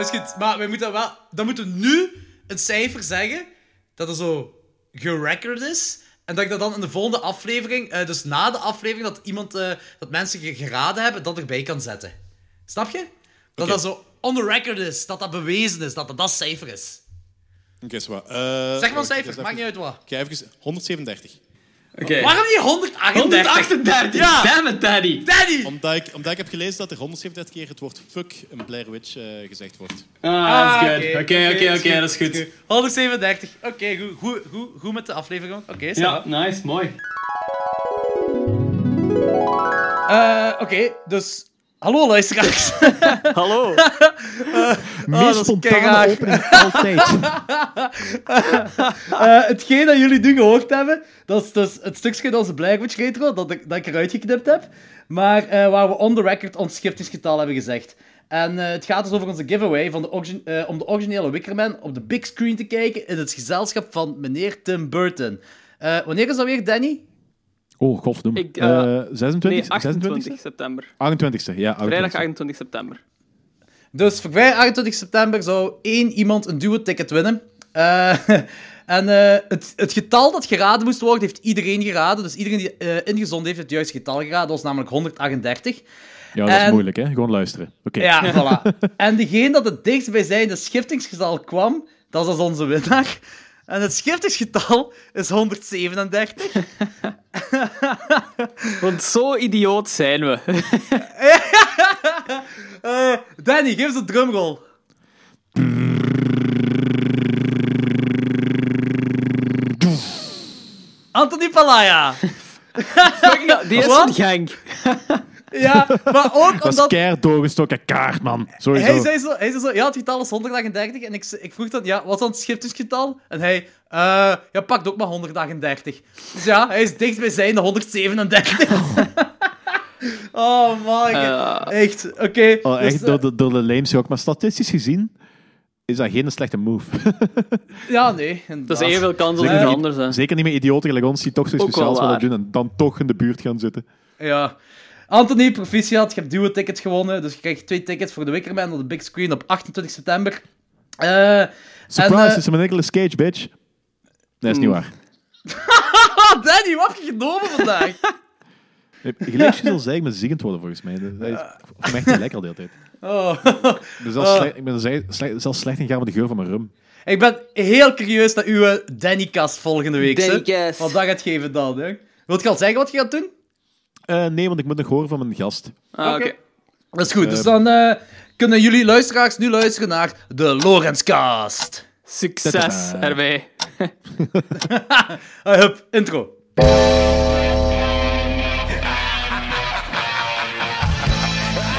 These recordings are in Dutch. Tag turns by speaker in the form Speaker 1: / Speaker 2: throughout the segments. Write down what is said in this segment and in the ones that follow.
Speaker 1: is goed. Maar we moeten wel... Dan moeten we nu een cijfer zeggen dat er zo gerecord is. En dat ik dat dan in de volgende aflevering, eh, dus na de aflevering, dat, iemand, eh, dat mensen ge- geraden hebben, dat erbij kan zetten. Snap je? Dat
Speaker 2: Oké.
Speaker 1: dat zo on the record is. Dat dat bewezen is. Dat dat, dat cijfer is.
Speaker 2: Oké, is wat. Eh,
Speaker 1: Zeg maar een
Speaker 2: wacht,
Speaker 1: cijfer.
Speaker 2: even-
Speaker 1: Maakt niet uit wat.
Speaker 2: Oké, even 137.
Speaker 3: Oké.
Speaker 1: Waarom niet 138?
Speaker 3: 138!
Speaker 1: Ja.
Speaker 3: Damn it, Daddy!
Speaker 1: Daddy!
Speaker 2: Omdat ik, omdat ik heb gelezen dat er 137 keer het woord fuck in Blair Witch eh, gezegd wordt.
Speaker 3: Ah, dat is good. Oké, oké, oké, dat is goed.
Speaker 1: 137. Oké, goed, goed, goed, goed met de aflevering. Oké, ça va.
Speaker 3: Ja, nice, mooi.
Speaker 1: Eh, Oké, dus... Hallo luisteraars.
Speaker 4: Hallo.
Speaker 1: dat
Speaker 4: Meest
Speaker 1: is
Speaker 4: spontane
Speaker 1: keiraar.
Speaker 4: opening altijd.
Speaker 1: Eh, hetgeen dat jullie nu gehoord hebben, dat is dus het stukje dat onze Blair Witch Retro, dat ik, dat ik eruit geknipt heb. Maar eh, waar we on the record ons schiftingsgetal hebben gezegd. En eh, het gaat dus over onze giveaway van de origi- eh, om de originele Wickerman op de big screen te kijken in het gezelschap van meneer Tim Burton. Eh, wanneer is dat weer, Danny?
Speaker 4: Oh, godverdomme.
Speaker 5: Ik, eh,
Speaker 4: Eh, 26?
Speaker 5: Nee, 28
Speaker 4: 26?
Speaker 5: september.
Speaker 4: 28ste, ja. 28ste.
Speaker 5: Vrijdag 28 september.
Speaker 1: Dus voor vrijdag 28 september zou één iemand een duo-ticket winnen. Eh, en eh, het, het getal dat geraden moest worden, heeft iedereen geraden. Dus iedereen die eh, ingezonden heeft, het juiste getal geraden. Dat was namelijk 138.
Speaker 4: Ja, dat is
Speaker 1: En-
Speaker 4: moeilijk, hè. Gewoon luisteren. Oké.
Speaker 1: Ja, voilà. En degene dat het dichtst bij zijn schiftingsgetal kwam, dat was dus onze winnaar. En het schiftingsgetal is 137.
Speaker 5: Want zo idioot zijn we.
Speaker 1: Eh, Danny, geef eens een drumroll. Anthony Palaya.
Speaker 5: Fuck, dat- die is
Speaker 1: Wat?
Speaker 5: een gang.
Speaker 1: Ja, maar ook
Speaker 4: Dat is
Speaker 1: omdat...
Speaker 4: keihard doorgestoken kaart, man. Sowieso.
Speaker 1: Hij zei, zo, hij zei zo, ja, het getal is 138. En ik, z- ik vroeg dan, ja, wat is dan het schiptersgetal? En hij, eh ja, pakt ook maar 138. Dus ja, hij is dichtst bij zijn 137. oh man, echt, oké.
Speaker 4: Eh. Oh,
Speaker 1: Dus,
Speaker 4: echt
Speaker 1: eh,
Speaker 4: door, de, door de lameste ook. Maar statistisch gezien is dat geen slechte move.
Speaker 1: Ja, nee.
Speaker 5: Dat is evenveel kans als
Speaker 4: Zeker
Speaker 5: iets
Speaker 4: niet.
Speaker 5: anders. Hè.
Speaker 4: Zeker niet meer idioten gelijk ons die toch zoiets
Speaker 5: Ook wel
Speaker 4: speciaals willen
Speaker 5: waar.
Speaker 4: doen en dan toch in de buurt gaan zitten.
Speaker 1: Ja. Anthony, proficiat. Je hebt duo tickets gewonnen. Dus je krijgt twee tickets voor de Wickerman op de big screen op 28 september. Eh,
Speaker 4: Surprise,
Speaker 1: eh, mm.
Speaker 4: het is een Nicolas Cage, bitch. Dat is niet waar.
Speaker 1: ah, Danny, wat heb je genomen vandaag?
Speaker 4: Gelijk je zal zeggen, ik ben ziekend worden volgens mij. Dat is voor mij echt niet lekker de hele tijd.
Speaker 1: Oh.
Speaker 4: Ik ben, zelfs slecht, ik ben zei- slecht- zelfs slecht in gaan met de geur van mijn rum.
Speaker 1: Ik ben heel curieus naar uw Danny-kast volgende week. hè.
Speaker 5: Danny-kast.
Speaker 1: Wat dat gaat geven dan. Hè? Wilt je al zeggen wat je gaat doen?
Speaker 4: Eh, nee, want ik moet nog horen van mijn gast.
Speaker 5: Ah, oké.
Speaker 1: Oké. Dat is goed. dus dan eh, kunnen jullie luisteraars nu luisteren naar de Lorenzkast.
Speaker 5: Succes
Speaker 4: Tadaa.
Speaker 5: erbij.
Speaker 1: Ah, hup, intro.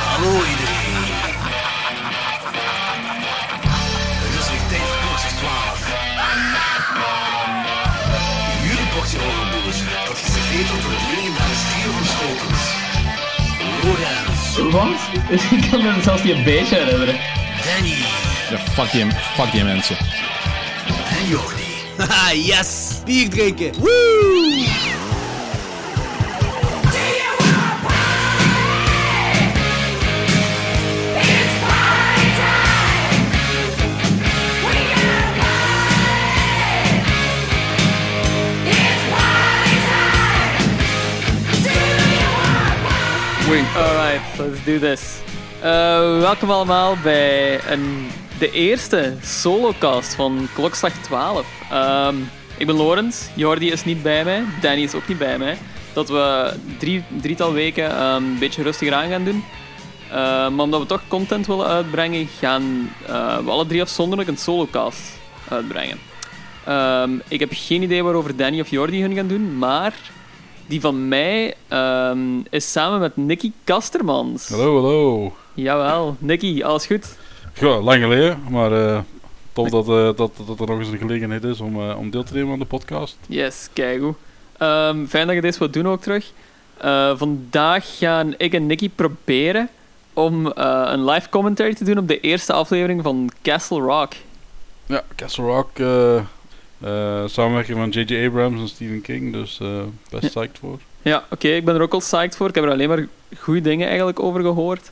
Speaker 6: Hallo iedereen. Het is weer tijd voor Klokjes 12. Jullie boxje horenboers, dat geserveerd wordt door het legendarische trio van Schotens. Lorenz,
Speaker 3: Wat? Ik kan me zelfs niet een beetje herinneren.
Speaker 6: Danny
Speaker 2: Ja, fuck die, fuck die mensen.
Speaker 6: en Jordi.
Speaker 1: Haha, Ah, yes! Bier drinken.
Speaker 5: Alright, let's do this. Eh, welkom allemaal bij een, de eerste solocast van Klokslag 12. Ehm, ik ben Lorenz, Jordi is niet bij mij, Danny is ook niet bij mij. Dat we drie, drietal weken ehm, een beetje rustiger aan gaan doen. Eh, maar omdat we toch content willen uitbrengen, gaan eh, we alle drie afzonderlijk een solocast uitbrengen. Ehm, ik heb geen idee waarover Danny of Jordi hun gaan doen, maar die van mij ehm, is samen met Nicky Kastermans.
Speaker 7: Hallo, hallo.
Speaker 5: Jawel, Nicky, alles goed?
Speaker 7: Ja, lang geleden, maar eh, tof dat, eh, dat, dat er nog eens een gelegenheid is om, eh, om deel te nemen aan de podcast.
Speaker 5: Yes, kijk hoe. Ehm, fijn dat je dit wilt doen ook terug. Eh, vandaag gaan ik en Nicky proberen om eh, een live commentary te doen op de eerste aflevering van Castle Rock.
Speaker 7: Ja, Castle Rock, eh, eh, samenwerking van J.J. Abrams en Stephen King, dus eh, best
Speaker 5: Ja.
Speaker 7: psyched voor.
Speaker 5: Ja, oké, ik ben er ook al psyched voor. Ik heb er alleen maar goede dingen eigenlijk over gehoord.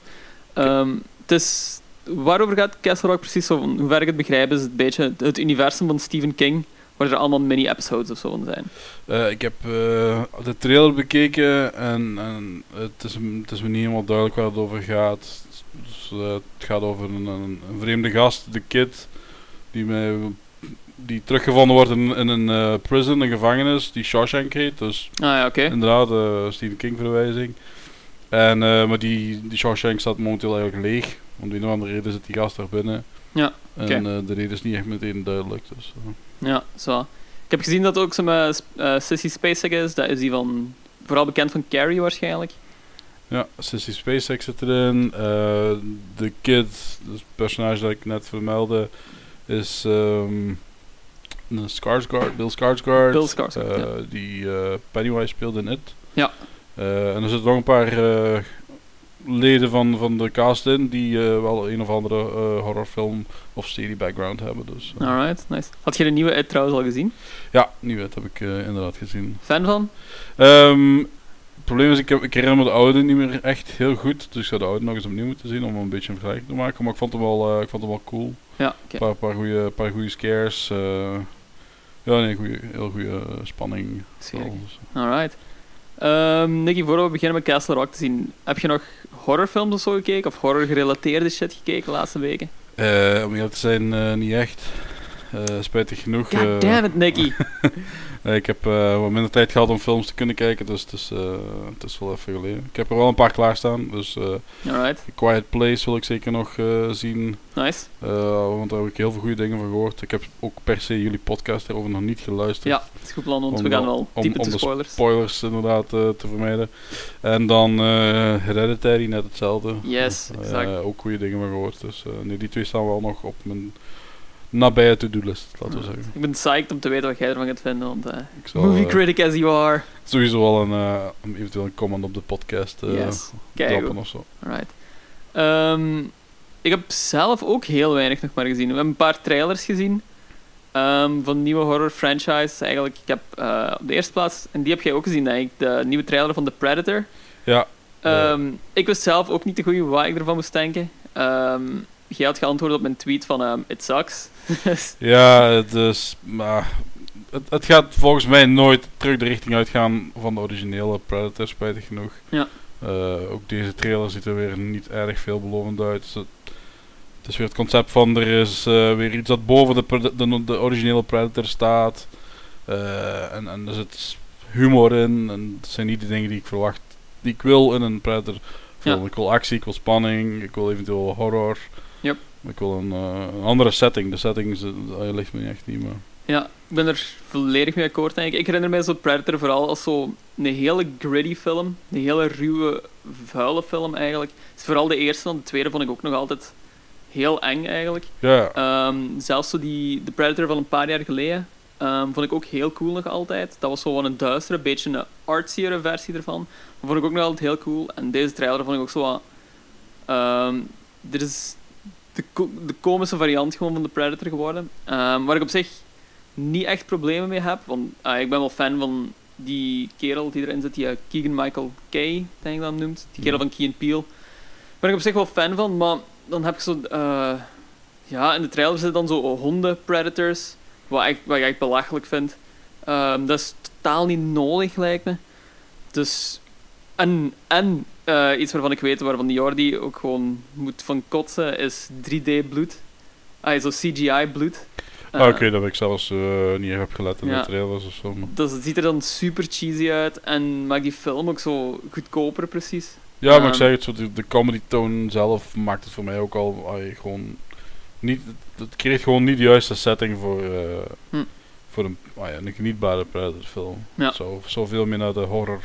Speaker 5: Ehm, het, is, waarover gaat Castle Rock precies? Zo, van hoe ver ik het begrijp is het een beetje het, het universum van Stephen King, waar er allemaal mini-episodes of zo van zijn.
Speaker 7: Eh, ik heb eh, de trailer bekeken en, en het, is, m- het is me niet helemaal duidelijk waar het over gaat. Dus, eh, het gaat over een, een, een vreemde gast, de kid, die, mij, die teruggevonden wordt in, in een eh, prison, een gevangenis, die Shawshank heet. Dus
Speaker 5: Ah ja, oké.
Speaker 7: inderdaad, eh Stephen King verwijzing. En, eh, maar die, die Shawshank staat momenteel eigenlijk leeg. Om de een of andere reden zit die gast daar binnen.
Speaker 5: Ja, oké.
Speaker 7: En eh, de reden is niet echt meteen duidelijk. Dus, eh.
Speaker 5: Ja, zo. Ik heb gezien dat ook zo'n eh, sp- eh, Sissy Spacek is. Dat is die van, vooral bekend van Carrie waarschijnlijk.
Speaker 7: Ja, Sissy SpaceX zit erin. eh, de Kid, dus het personage dat ik net vermeldde, is ehm een Skarsgård, Bill Skarsgård.
Speaker 5: Bill Skarsgård,
Speaker 7: eh,
Speaker 5: ja.
Speaker 7: Die eh, Pennywise speelde in It.
Speaker 5: Ja.
Speaker 7: Eh, en er zitten nog een paar eh, leden van, van de cast in die eh, wel een of andere eh, horrorfilm of serie background hebben. Dus, eh.
Speaker 5: Alright, nice. Had je de nieuwe uit trouwens al gezien?
Speaker 7: Ja, nieuw het heb ik eh, inderdaad gezien.
Speaker 5: Fan van?
Speaker 7: Ehm, het probleem is, ik, heb, ik herinner me de oude niet meer echt heel goed. Dus ik zou de oude nog eens opnieuw moeten zien om een beetje een vergelijking te maken. Maar ik vond hem wel, eh, ik vond hem wel cool. Een
Speaker 5: Ja, oké.
Speaker 7: paar, paar, goede, paar goede scares. eh, ja, nee, goeie, heel goede spanning.
Speaker 5: Scherk.
Speaker 7: Wel, dus.
Speaker 5: Alright. Ehm Nicky, voor we beginnen met Castle Rock te zien, heb je nog horrorfilms of zo gekeken? Of horror-gerelateerde shit gekeken de laatste weken?
Speaker 7: Eh, om eerlijk te zijn, eh, niet echt. Eh, spijtig genoeg.
Speaker 5: God
Speaker 7: eh,
Speaker 5: damn it, Nicky!
Speaker 7: eh, ik heb eh, wat minder tijd gehad om films te kunnen kijken, dus het is, eh, het is wel even geleden. Ik heb er wel een paar klaarstaan, dus eh,
Speaker 5: Alright,
Speaker 7: Quiet Place wil ik zeker nog eh, zien.
Speaker 5: nice.
Speaker 7: Eh, want daar heb ik heel veel goede dingen van gehoord. Ik heb ook per se jullie podcast daarover nog niet geluisterd.
Speaker 5: Ja, het is goed plan, want
Speaker 7: Om
Speaker 5: we gaan
Speaker 7: de-
Speaker 5: wel
Speaker 7: om-
Speaker 5: diepe
Speaker 7: om
Speaker 5: te
Speaker 7: de
Speaker 5: spoilers.
Speaker 7: Spoilers inderdaad eh, te vermijden. En dan eh Hereditary, net hetzelfde.
Speaker 5: Yes,
Speaker 7: Eh,
Speaker 5: exact.
Speaker 7: ook goede dingen van gehoord. Dus eh, nee, die twee staan wel nog op mijn nabije to-do list, laten we zeggen.
Speaker 5: Ik ben psyched om te weten wat jij ervan gaat vinden, want eh,
Speaker 7: Ik zal
Speaker 5: movie
Speaker 7: eh,
Speaker 5: critic as you are.
Speaker 7: sowieso wel een, eh, een- eventueel een comment op de podcast eh
Speaker 5: yes. Kijk,
Speaker 7: droppen of zo.
Speaker 5: Alright. Ehm, ik heb zelf ook heel weinig nog maar gezien. We hebben een paar trailers gezien ehm, van nieuwe horror franchises. Eigenlijk, ik heb eh, op de eerste plaats, en die heb jij ook gezien, denk ik, de nieuwe trailer van The Predator.
Speaker 7: Ja,
Speaker 5: Ehm, Ik wist zelf ook niet de goede wat ik ervan moest denken. Ehm, jij had geantwoord op mijn tweet van ehm, It sucks. Dus,
Speaker 7: Ja, het is. Maar het, het gaat volgens mij nooit terug de richting uitgaan van de originele Predator, spijtig genoeg.
Speaker 5: Ja.
Speaker 7: Eh, ook deze trailer ziet er weer niet erg veelbelovend uit. Dus het, het is weer het concept van er is eh, weer iets dat boven de, pred- de, de originele Predator staat. Eh, en, en er zit humor in. En het zijn niet de dingen die ik verwacht, die ik wil in een Predator. film. Ik wil actie, ik wil spanning, ik wil eventueel horror.
Speaker 5: Yep.
Speaker 7: Ik wil een, eh, een andere setting. De setting is, eh, ligt me echt niet, maar...
Speaker 5: ja, ik ben er volledig mee akkoord, denk ik. Ik herinner mij zo Predator vooral als zo'n hele gritty film. Een hele ruwe, vuile film eigenlijk. Het is vooral de eerste, want de tweede vond ik ook nog altijd heel eng eigenlijk.
Speaker 7: Ja,
Speaker 5: Ehm, zelfs zo die de Predator van een paar jaar geleden ehm, vond ik ook heel cool nog altijd. Dat was zo wel een duistere, beetje een artsiere versie ervan. Dat vond ik ook nog altijd heel cool. En deze trailer vond ik ook zo wat... ehm, dit is de, ko- de komische variant gewoon van de Predator geworden. Ehm, waar ik op zich niet echt problemen mee heb. Want ah, ik ben wel fan van die kerel die erin zit, die Keegan-Michael Kay, denk ik dat hem noemt. Die kerel van Key and Peele. Daar ben ik op zich wel fan van, maar dan heb ik zo... eh, ja, in de trailer zitten dan zo honden, predators, wat ik, wat ik echt belachelijk vind. Ehm, dat is totaal niet nodig, lijkt me. Dus, en, en eh, iets waarvan ik weet, waarvan Jordi ook gewoon moet van kotsen, is 3D-bloed. Ah, zo CGI-bloed.
Speaker 7: Ah, oké, dat ik zelfs eh, niet echt heb gelet in
Speaker 5: Ja.
Speaker 7: de trailers of zo. maar-
Speaker 5: Dus het ziet er dan super cheesy uit en maakt die film ook zo goedkoper, precies.
Speaker 7: Ja, maar
Speaker 5: Ehm.
Speaker 7: ik zeg het, zo, de, de comedy toon zelf maakt het voor mij ook al ai, gewoon... Niet, het- het creëert gewoon niet de juiste setting voor, eh,
Speaker 5: Hm.
Speaker 7: voor een, ah ja, een genietbare Predator film.
Speaker 5: Ja.
Speaker 7: Zo, zo veel meer naar de horror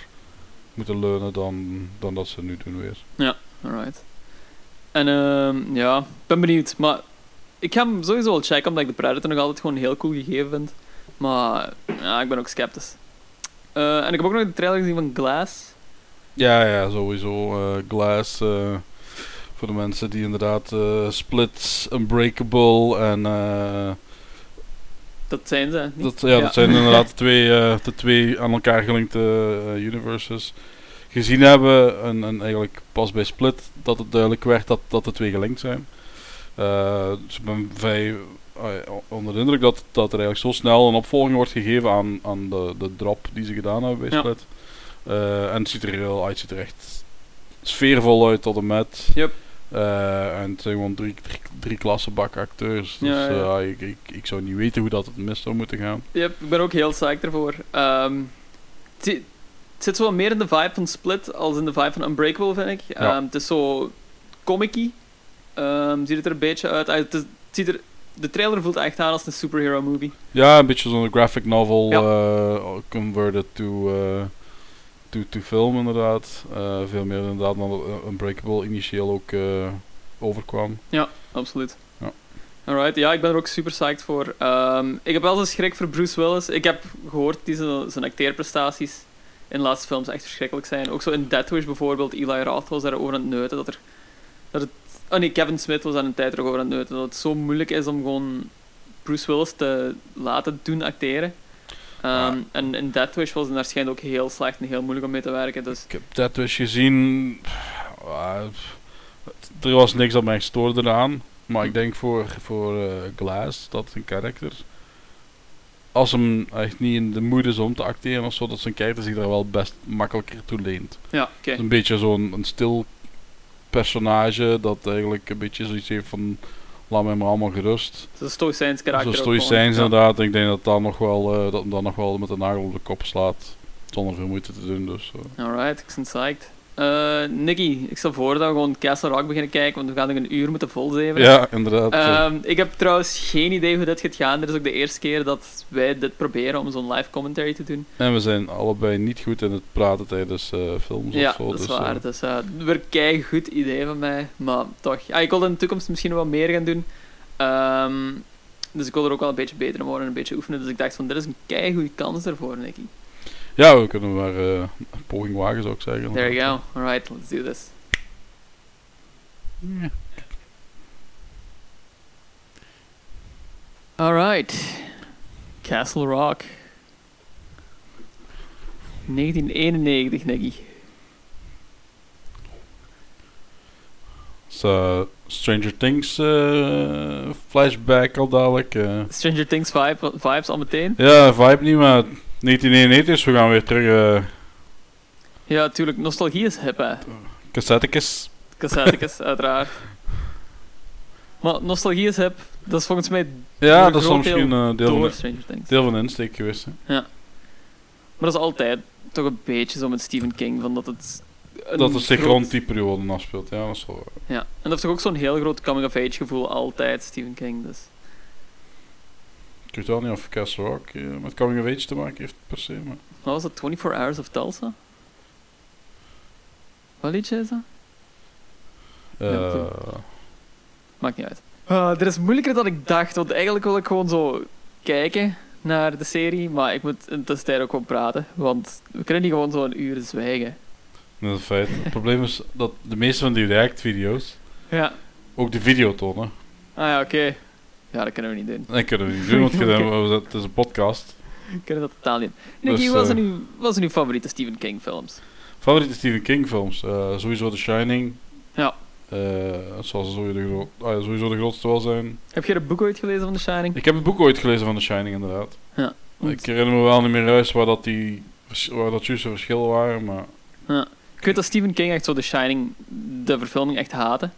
Speaker 7: moeten leunen dan, dan dat ze nu doen weer.
Speaker 5: Alright. En ehm, ja, ik ben benieuwd. Maar ik ga hem sowieso wel checken, omdat ik de Predator nog altijd gewoon heel cool gegeven vind. Maar ja, ik ben ook sceptisch. Eh, en ik heb ook nog de trailer gezien van Glass.
Speaker 7: Ja, ja, sowieso. eh, Glass. eh, voor de mensen die inderdaad eh, Splits, Unbreakable en... eh,
Speaker 5: Dat zijn ze. niet?
Speaker 7: dat, ja, dat zijn inderdaad de twee, eh, de twee aan elkaar gelinkte eh, universes gezien hebben. En, en eigenlijk pas bij Split dat het duidelijk werd dat, dat de twee gelinkt zijn. Eh, dus ik ben vrij eh, onder de indruk dat, dat er eigenlijk zo snel een opvolging wordt gegeven aan, aan de, de drop die ze gedaan hebben bij
Speaker 5: Ja.
Speaker 7: Split. Eh, en het ziet er heel uit, het ziet er echt sfeervol uit tot en met.
Speaker 5: Yep.
Speaker 7: Eh, en het zijn gewoon drie, drie, drie klasse bak acteurs. Dus
Speaker 5: Ja, ja.
Speaker 7: eh, ah, ik, ik, ik zou niet weten hoe dat het mis zou moeten gaan.
Speaker 5: Yep, ik ben ook heel psyched ervoor. Ehm, het zi- het zit wel meer in de vibe van Split als in de vibe van Unbreakable, vind ik.
Speaker 7: Ja.
Speaker 5: Ehm, het is zo comic ziet het er een beetje uit. Ah, het is- het ziet er, de trailer voelt echt aan als een superhero movie.
Speaker 7: Ja, een beetje zo'n graphic novel
Speaker 5: Ja.
Speaker 7: eh, converted to, eh, to, to film inderdaad. Eh, veel meer inderdaad dan dat Unbreakable initieel ook eh, overkwam.
Speaker 5: Absoluut.
Speaker 7: Ja.
Speaker 5: Alright, ja, ik ben er ook super psyched voor. Ehm, ik heb wel eens schrik voor Bruce Willis. Ik heb gehoord dat zijn, zijn acteerprestaties in de laatste films echt verschrikkelijk zijn. Ook zo in Death Wish bijvoorbeeld, Eli Roth was daarover aan het neuten. Dat er, dat het, oh nee, Kevin Smith was aan een tijd erover aan het neuten. Dat het zo moeilijk is om gewoon Bruce Willis te laten doen acteren. Ehm,
Speaker 7: Ja.
Speaker 5: En in Death Wish was het waarschijnlijk ook heel slecht en heel moeilijk om mee te werken. Dus
Speaker 7: Ik heb dat dus gezien. Pff, ah, pff. Het- Er was niks dat mij stoorde eraan. Maar ik denk voor, voor eh, Glass, dat een karakter. Als hem echt niet in de moed is om te acteren of zo, dat zijn kijker zich daar wel best makkelijker toe leent.
Speaker 5: ja, oké.
Speaker 7: Het is Een beetje zo'n een stil personage dat eigenlijk een beetje zoiets heeft van laat mij maar allemaal gerust.
Speaker 5: Het is een stoïcijns karakter.
Speaker 7: Zo'n
Speaker 5: ook gewoon.
Speaker 7: stoïcijns
Speaker 5: Ja.
Speaker 7: inderdaad. Ik denk dat dat nog wel eh, dat hem dan nog wel met de nagel op de kop slaat. Zonder veel moeite te doen. Dus, eh.
Speaker 5: Alright, ik ben psyched. Eh, Nicky, ik stel voor dat we gewoon Castle Rock beginnen kijken, want we gaan nog een uur moeten volzeven.
Speaker 7: Ja, inderdaad. eh.
Speaker 5: Ehm, ik heb trouwens geen idee hoe dit gaat gaan. Dit is ook de eerste keer dat wij dit proberen om zo'n live commentary te doen.
Speaker 7: En we zijn allebei niet goed in het praten tijdens eh, films
Speaker 5: ja,
Speaker 7: of zo.
Speaker 5: dat is
Speaker 7: dus, eh,
Speaker 5: waar. Dus eh weer een goed idee van mij, maar toch. Ah, ik wil in de toekomst misschien wat meer gaan doen. Ehm, dus ik wil er ook wel een beetje beter in worden en een beetje oefenen. Dus ik dacht van, dit is een keigoede kans daarvoor, Nicky.
Speaker 7: ja, we kunnen maar eh, een poging wagen, zou ik zeggen.
Speaker 5: There you go. Alright, let's do this. Alright. Castle Rock. 1991, Nicky.
Speaker 7: Dus, eh, Stranger Things eh, flashback al dadelijk. eh.
Speaker 5: Stranger Things vibe, vibes al meteen?
Speaker 7: Ja, vibe niet, maar 1991 is, we gaan weer terug. eh
Speaker 5: Ja, tuurlijk. Nostalgie is hip, hè.
Speaker 7: cassettekes.
Speaker 5: Cassettekes, uiteraard. Maar nostalgie is hip. Dat is volgens mij Voor
Speaker 7: Ja,
Speaker 5: een
Speaker 7: dat is
Speaker 5: groot
Speaker 7: dan
Speaker 5: deel
Speaker 7: misschien eh, deel, van
Speaker 5: door
Speaker 7: de,
Speaker 5: Stranger Things.
Speaker 7: deel van de insteek geweest. Hè.
Speaker 5: Maar dat is altijd toch een beetje zo met Stephen King, van dat het... een
Speaker 7: Dat is zich
Speaker 5: groot-
Speaker 7: rond die periode afspeelt. Ja, dat is wel waar.
Speaker 5: Ja, en dat heeft toch ook zo'n heel groot coming-of-age gevoel altijd, Stephen King, dus...
Speaker 7: Ik weet wel niet of Castle Rock eh, met Coming of Age te maken heeft, per se. Maar...
Speaker 5: Wat was dat, 24 Hours of Tulsa? Wat liedje is dat? Ja,
Speaker 7: eh,
Speaker 5: Maakt niet uit. Ah, dit is moeilijker dan ik dacht, want eigenlijk wil ik gewoon zo kijken naar de serie, maar ik moet in de tussentijd ook gewoon praten, want we kunnen niet gewoon zo'n uur zwijgen.
Speaker 7: dat is een feit. Het probleem is dat de meeste van die react-video's
Speaker 5: Ja.
Speaker 7: ook de video tonen.
Speaker 5: Ah ja, oké. Ja, dat kunnen we niet doen.
Speaker 7: Dat kunnen we niet doen, want we- we- het is een podcast.
Speaker 5: We kunnen dat totaal niet. Nicky,
Speaker 7: Dus,
Speaker 5: wat
Speaker 7: eh,
Speaker 5: zijn uw- wat zijn uw favoriete Stephen King films?
Speaker 7: Favoriete Stephen King films? eh, sowieso The Shining.
Speaker 5: Ja.
Speaker 7: Eh, zoals sowieso de, gro- ah, ja, sowieso de grootste wel zijn.
Speaker 5: Heb jij het boek ooit gelezen van The Shining?
Speaker 7: Ik heb het boek ooit gelezen van The Shining, inderdaad.
Speaker 5: Ja.
Speaker 7: Ik herinner me wel niet meer juist waar dat, die, vers- waar dat juiste verschil waren, maar...
Speaker 5: Ik weet dat Stephen King echt zo The Shining, de verfilming, echt haatte.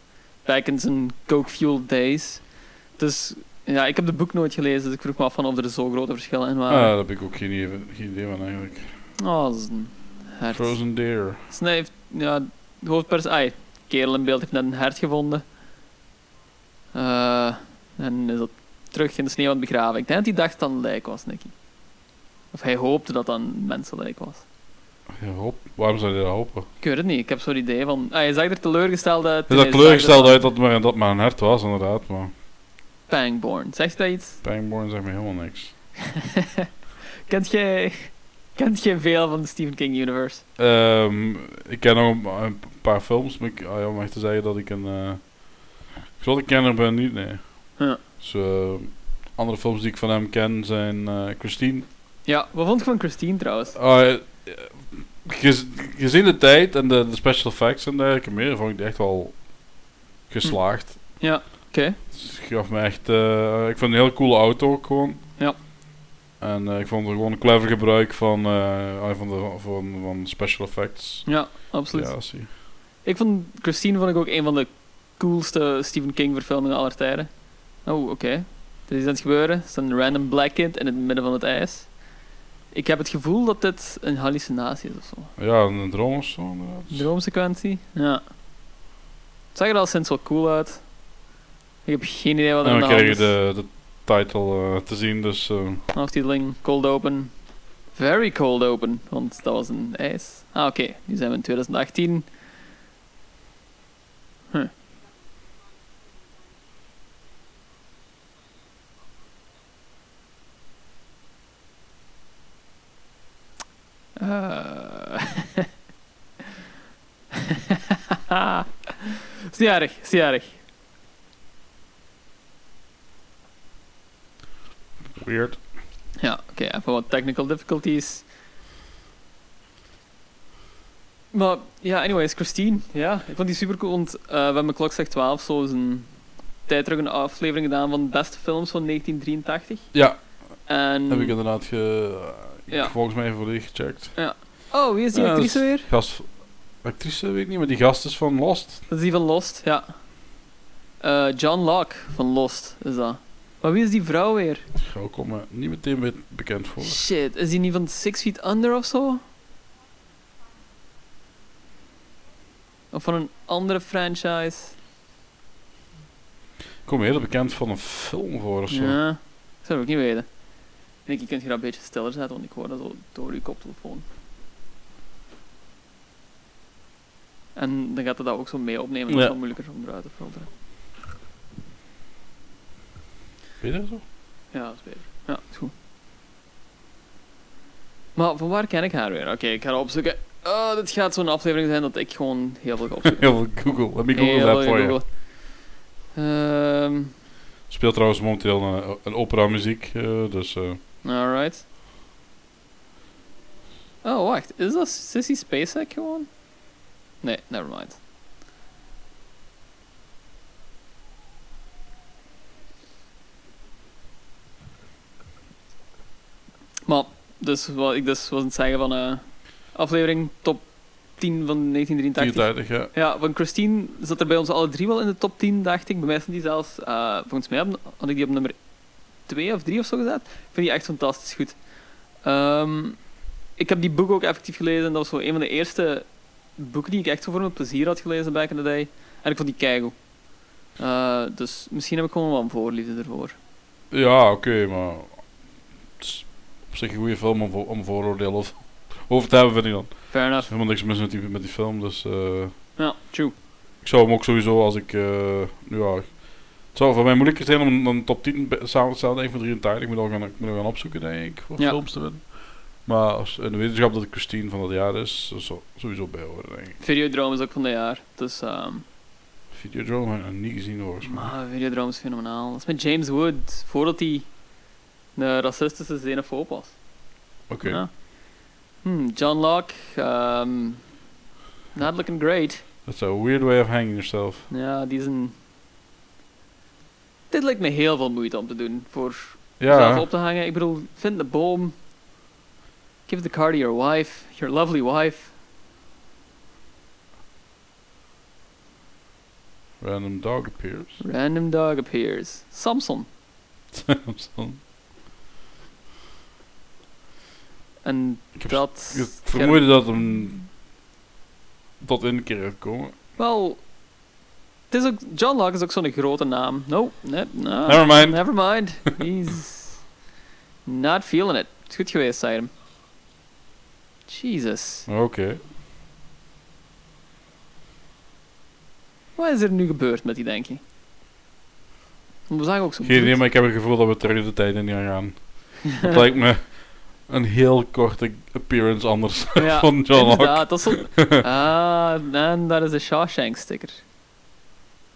Speaker 5: Back in zijn coke-fueled days. Dus ja, ik heb de boek nooit gelezen, dus ik vroeg me af van of er zo grote verschillen in
Speaker 7: Ah,
Speaker 5: waren.
Speaker 7: daar heb ik ook geen, idee- geen idee van, eigenlijk.
Speaker 5: Oh, dat is een hert.
Speaker 7: Frozen Deer.
Speaker 5: Snij heeft, ja, de hoofdpers... Ai, kerel in beeld heeft net een hert gevonden. Eh, en is dat terug in de sneeuw aan het begraven. Ik denk dat hij dacht dat het een lijk was, Nicky. Of hij hoopte dat dat een mensenlijk was.
Speaker 7: Ja, hop. Waarom zou je dat hopen?
Speaker 5: Ik weet het niet, ik heb zo'n idee van... Ah, je zag er teleurgesteld uit.
Speaker 7: Is
Speaker 5: toen
Speaker 7: dat
Speaker 5: hij zag
Speaker 7: kleurgesteld uit dat maar, dat maar een hert was, inderdaad, maar...
Speaker 5: Pangborn. Zegt dat iets?
Speaker 7: Pangborn zegt me helemaal niks.
Speaker 5: Kent jij... Kent jij veel van de Stephen King universe?
Speaker 7: Ehm, ik ken nog een, een paar films, maar ik, ah ja, om echt te zeggen dat ik een eh, grote kenner ben, niet, nee.
Speaker 5: Ja.
Speaker 7: Dus, eh, andere films die ik van hem ken zijn eh, Christine.
Speaker 5: Ja, wat vond je van Christine trouwens?
Speaker 7: Ah, eh, gez- gezien de tijd en de, de special effects en dergelijke meer, vond ik die echt wel geslaagd.
Speaker 5: Ja.
Speaker 7: Dus het gaf me echt... eh, ik vond het een heel coole auto ook gewoon.
Speaker 5: Ja.
Speaker 7: En eh, ik vond er gewoon een clever gebruik van, eh, ah, van, de, van, van special effects.
Speaker 5: Ja, absoluut.
Speaker 7: Ja, zie.
Speaker 5: Ik vond Christine vond ik ook een van de coolste Stephen King verfilmingen aller tijden. Oh, oké. Er is iets aan het gebeuren. Er staat een random black kid in het midden van het ijs. Ik heb het gevoel dat dit een hallucinatie is of zo.
Speaker 7: Ja, een droom of zo inderdaad.
Speaker 5: Droomsequentie? Ja. Het zag er al sinds wel cool uit. Ik heb geen idee wat er
Speaker 7: En
Speaker 5: aan de
Speaker 7: dan
Speaker 5: hand
Speaker 7: kreeg je
Speaker 5: is.
Speaker 7: de, de title eh, te zien, dus... eh,
Speaker 5: Aftiteling, cold open. Very cold open, want dat was een ijs. Ah, oké. Nu zijn we in 2018. Huh. Ah. Eh. is niet erg, is niet erg.
Speaker 7: weird.
Speaker 5: Ja, oké, even wat technical difficulties. Maar ja, anyways, Christine. Ja, ik vond die super cool, want eh, we hebben Klok zegt 12 zo is een tijd terug een aflevering gedaan van de beste films van 1983.
Speaker 7: Ja,
Speaker 5: En...
Speaker 7: heb ik inderdaad ge,
Speaker 5: Mm. Ja.
Speaker 7: volgens mij voor die gecheckt.
Speaker 5: Oh, wie is die
Speaker 7: Ja, dat
Speaker 5: actrice
Speaker 7: is-
Speaker 5: weer?
Speaker 7: Gast... Actrice weet ik niet, maar die gast is van Lost.
Speaker 5: Dat is die van Lost, ja. Eh, John Locke van Lost is dat. Maar wie is die vrouw weer?
Speaker 7: Daar kom me niet meteen be- bekend voor.
Speaker 5: Shit, is die niet van Six Feet Under of zo? Of van een andere franchise?
Speaker 7: Ik kom me heel bekend van een film voor of zo.
Speaker 5: Ja, dat zou ik ook niet weten. Nick, je kunt je dat een beetje stiller zetten, want ik hoor dat zo door je koptelefoon. En dan gaat het dat ook zo mee opnemen, dat is
Speaker 7: Ja.
Speaker 5: wel moeilijker om eruit te filteren.
Speaker 7: Weet je dat zo?
Speaker 5: Ja, dat is beter. Ja, is goed. Maar van waar ken ik haar weer? Oké, ik ga haar opzoeken. Oh, dit gaat zo'n aflevering zijn dat ik gewoon heel veel ga opzoeken.
Speaker 7: Heel veel Google. Let me Google
Speaker 5: Heel
Speaker 7: dat
Speaker 5: veel
Speaker 7: voor je.
Speaker 5: googelen. Ehm,
Speaker 7: Speelt trouwens momenteel een, een opera muziek, eh, dus... eh,
Speaker 5: Alright. Oh, wacht. Is dat Sissy Spacek gewoon? Nee, never mind. Maar, dus wat ik dus was aan het zeggen van eh aflevering top 10 van 1983.
Speaker 7: 84, ja.
Speaker 5: Ja, van Christine zat er bij ons alle drie wel in de top 10, dacht ik. Bij mij stond die zelfs, eh, volgens mij had- had ik die op nummer 2 of 3 of zo gezet. Ik vind die echt fantastisch goed. Ehm, ik heb die boek ook effectief gelezen. Dat was zo een van de eerste boeken die ik echt zo voor mijn plezier had gelezen back in the day. En ik vond die keigoed. Eh, dus misschien heb ik gewoon wel een voorliefde ervoor.
Speaker 7: Ja, oké, maar... Het is op zich een goede film om, vo- om vooroordelen over- over te hebben, vind ik dan. Er
Speaker 5: Fair
Speaker 7: is
Speaker 5: enough.
Speaker 7: helemaal niks mis met die, met die film, dus... eh,
Speaker 5: Ja, true.
Speaker 7: ik zou hem ook sowieso als ik... eh, ja, het zou voor mij moeilijker zijn om een top 10 be- samen te stellen, denk ik, van 83. Ik moet nog gaan, ik moet nog gaan opzoeken, denk ik, voor
Speaker 5: Ja.
Speaker 7: films te winnen. Maar als, in de wetenschap dat het Christine van dat jaar is, dat zou sowieso bij horen, denk ik.
Speaker 5: Videodroom is ook van dit jaar. Dus, ehm
Speaker 7: Videodrome heb ik nog niet gezien, volgens mij.
Speaker 5: Maar Videodroom is fenomenaal. Dat is met James Wood, voordat hij een racistische xenofoob was.
Speaker 7: Oké.
Speaker 5: Ja. Hmm, John Locke, ehm, not looking great.
Speaker 7: That's a weird way of hanging yourself.
Speaker 5: Ja, die is een... Dit lijkt me heel veel moeite om te doen, voor
Speaker 7: Ja,
Speaker 5: zelf op te hangen. Ik bedoel, vind de boom. Give the car to your wife, your lovely wife.
Speaker 7: random dog appears.
Speaker 5: Random dog appears. Samson.
Speaker 7: Samson.
Speaker 5: En
Speaker 7: Ik heb
Speaker 5: dat...
Speaker 7: Ik vermoedde dat hem tot in keer gaat komen.
Speaker 5: Wel, het is ook, John Locke is ook zo'n grote naam. No, nee, no,
Speaker 7: Never mind.
Speaker 5: Never mind. He's not feeling it. Het is goed geweest, zei hem. Jesus.
Speaker 7: Maar Oké.
Speaker 5: Wat is er nu gebeurd met die, denk je? Want We zagen ook zo'n
Speaker 7: Geen idee,
Speaker 5: bloed.
Speaker 7: maar ik heb het gevoel dat we terug de tijd in gaan gaan. Het lijkt me een heel korte appearance anders
Speaker 5: Ja,
Speaker 7: van John Locke.
Speaker 5: Inderdaad, dat is zo'n- Ah, en daar is de Shawshank sticker.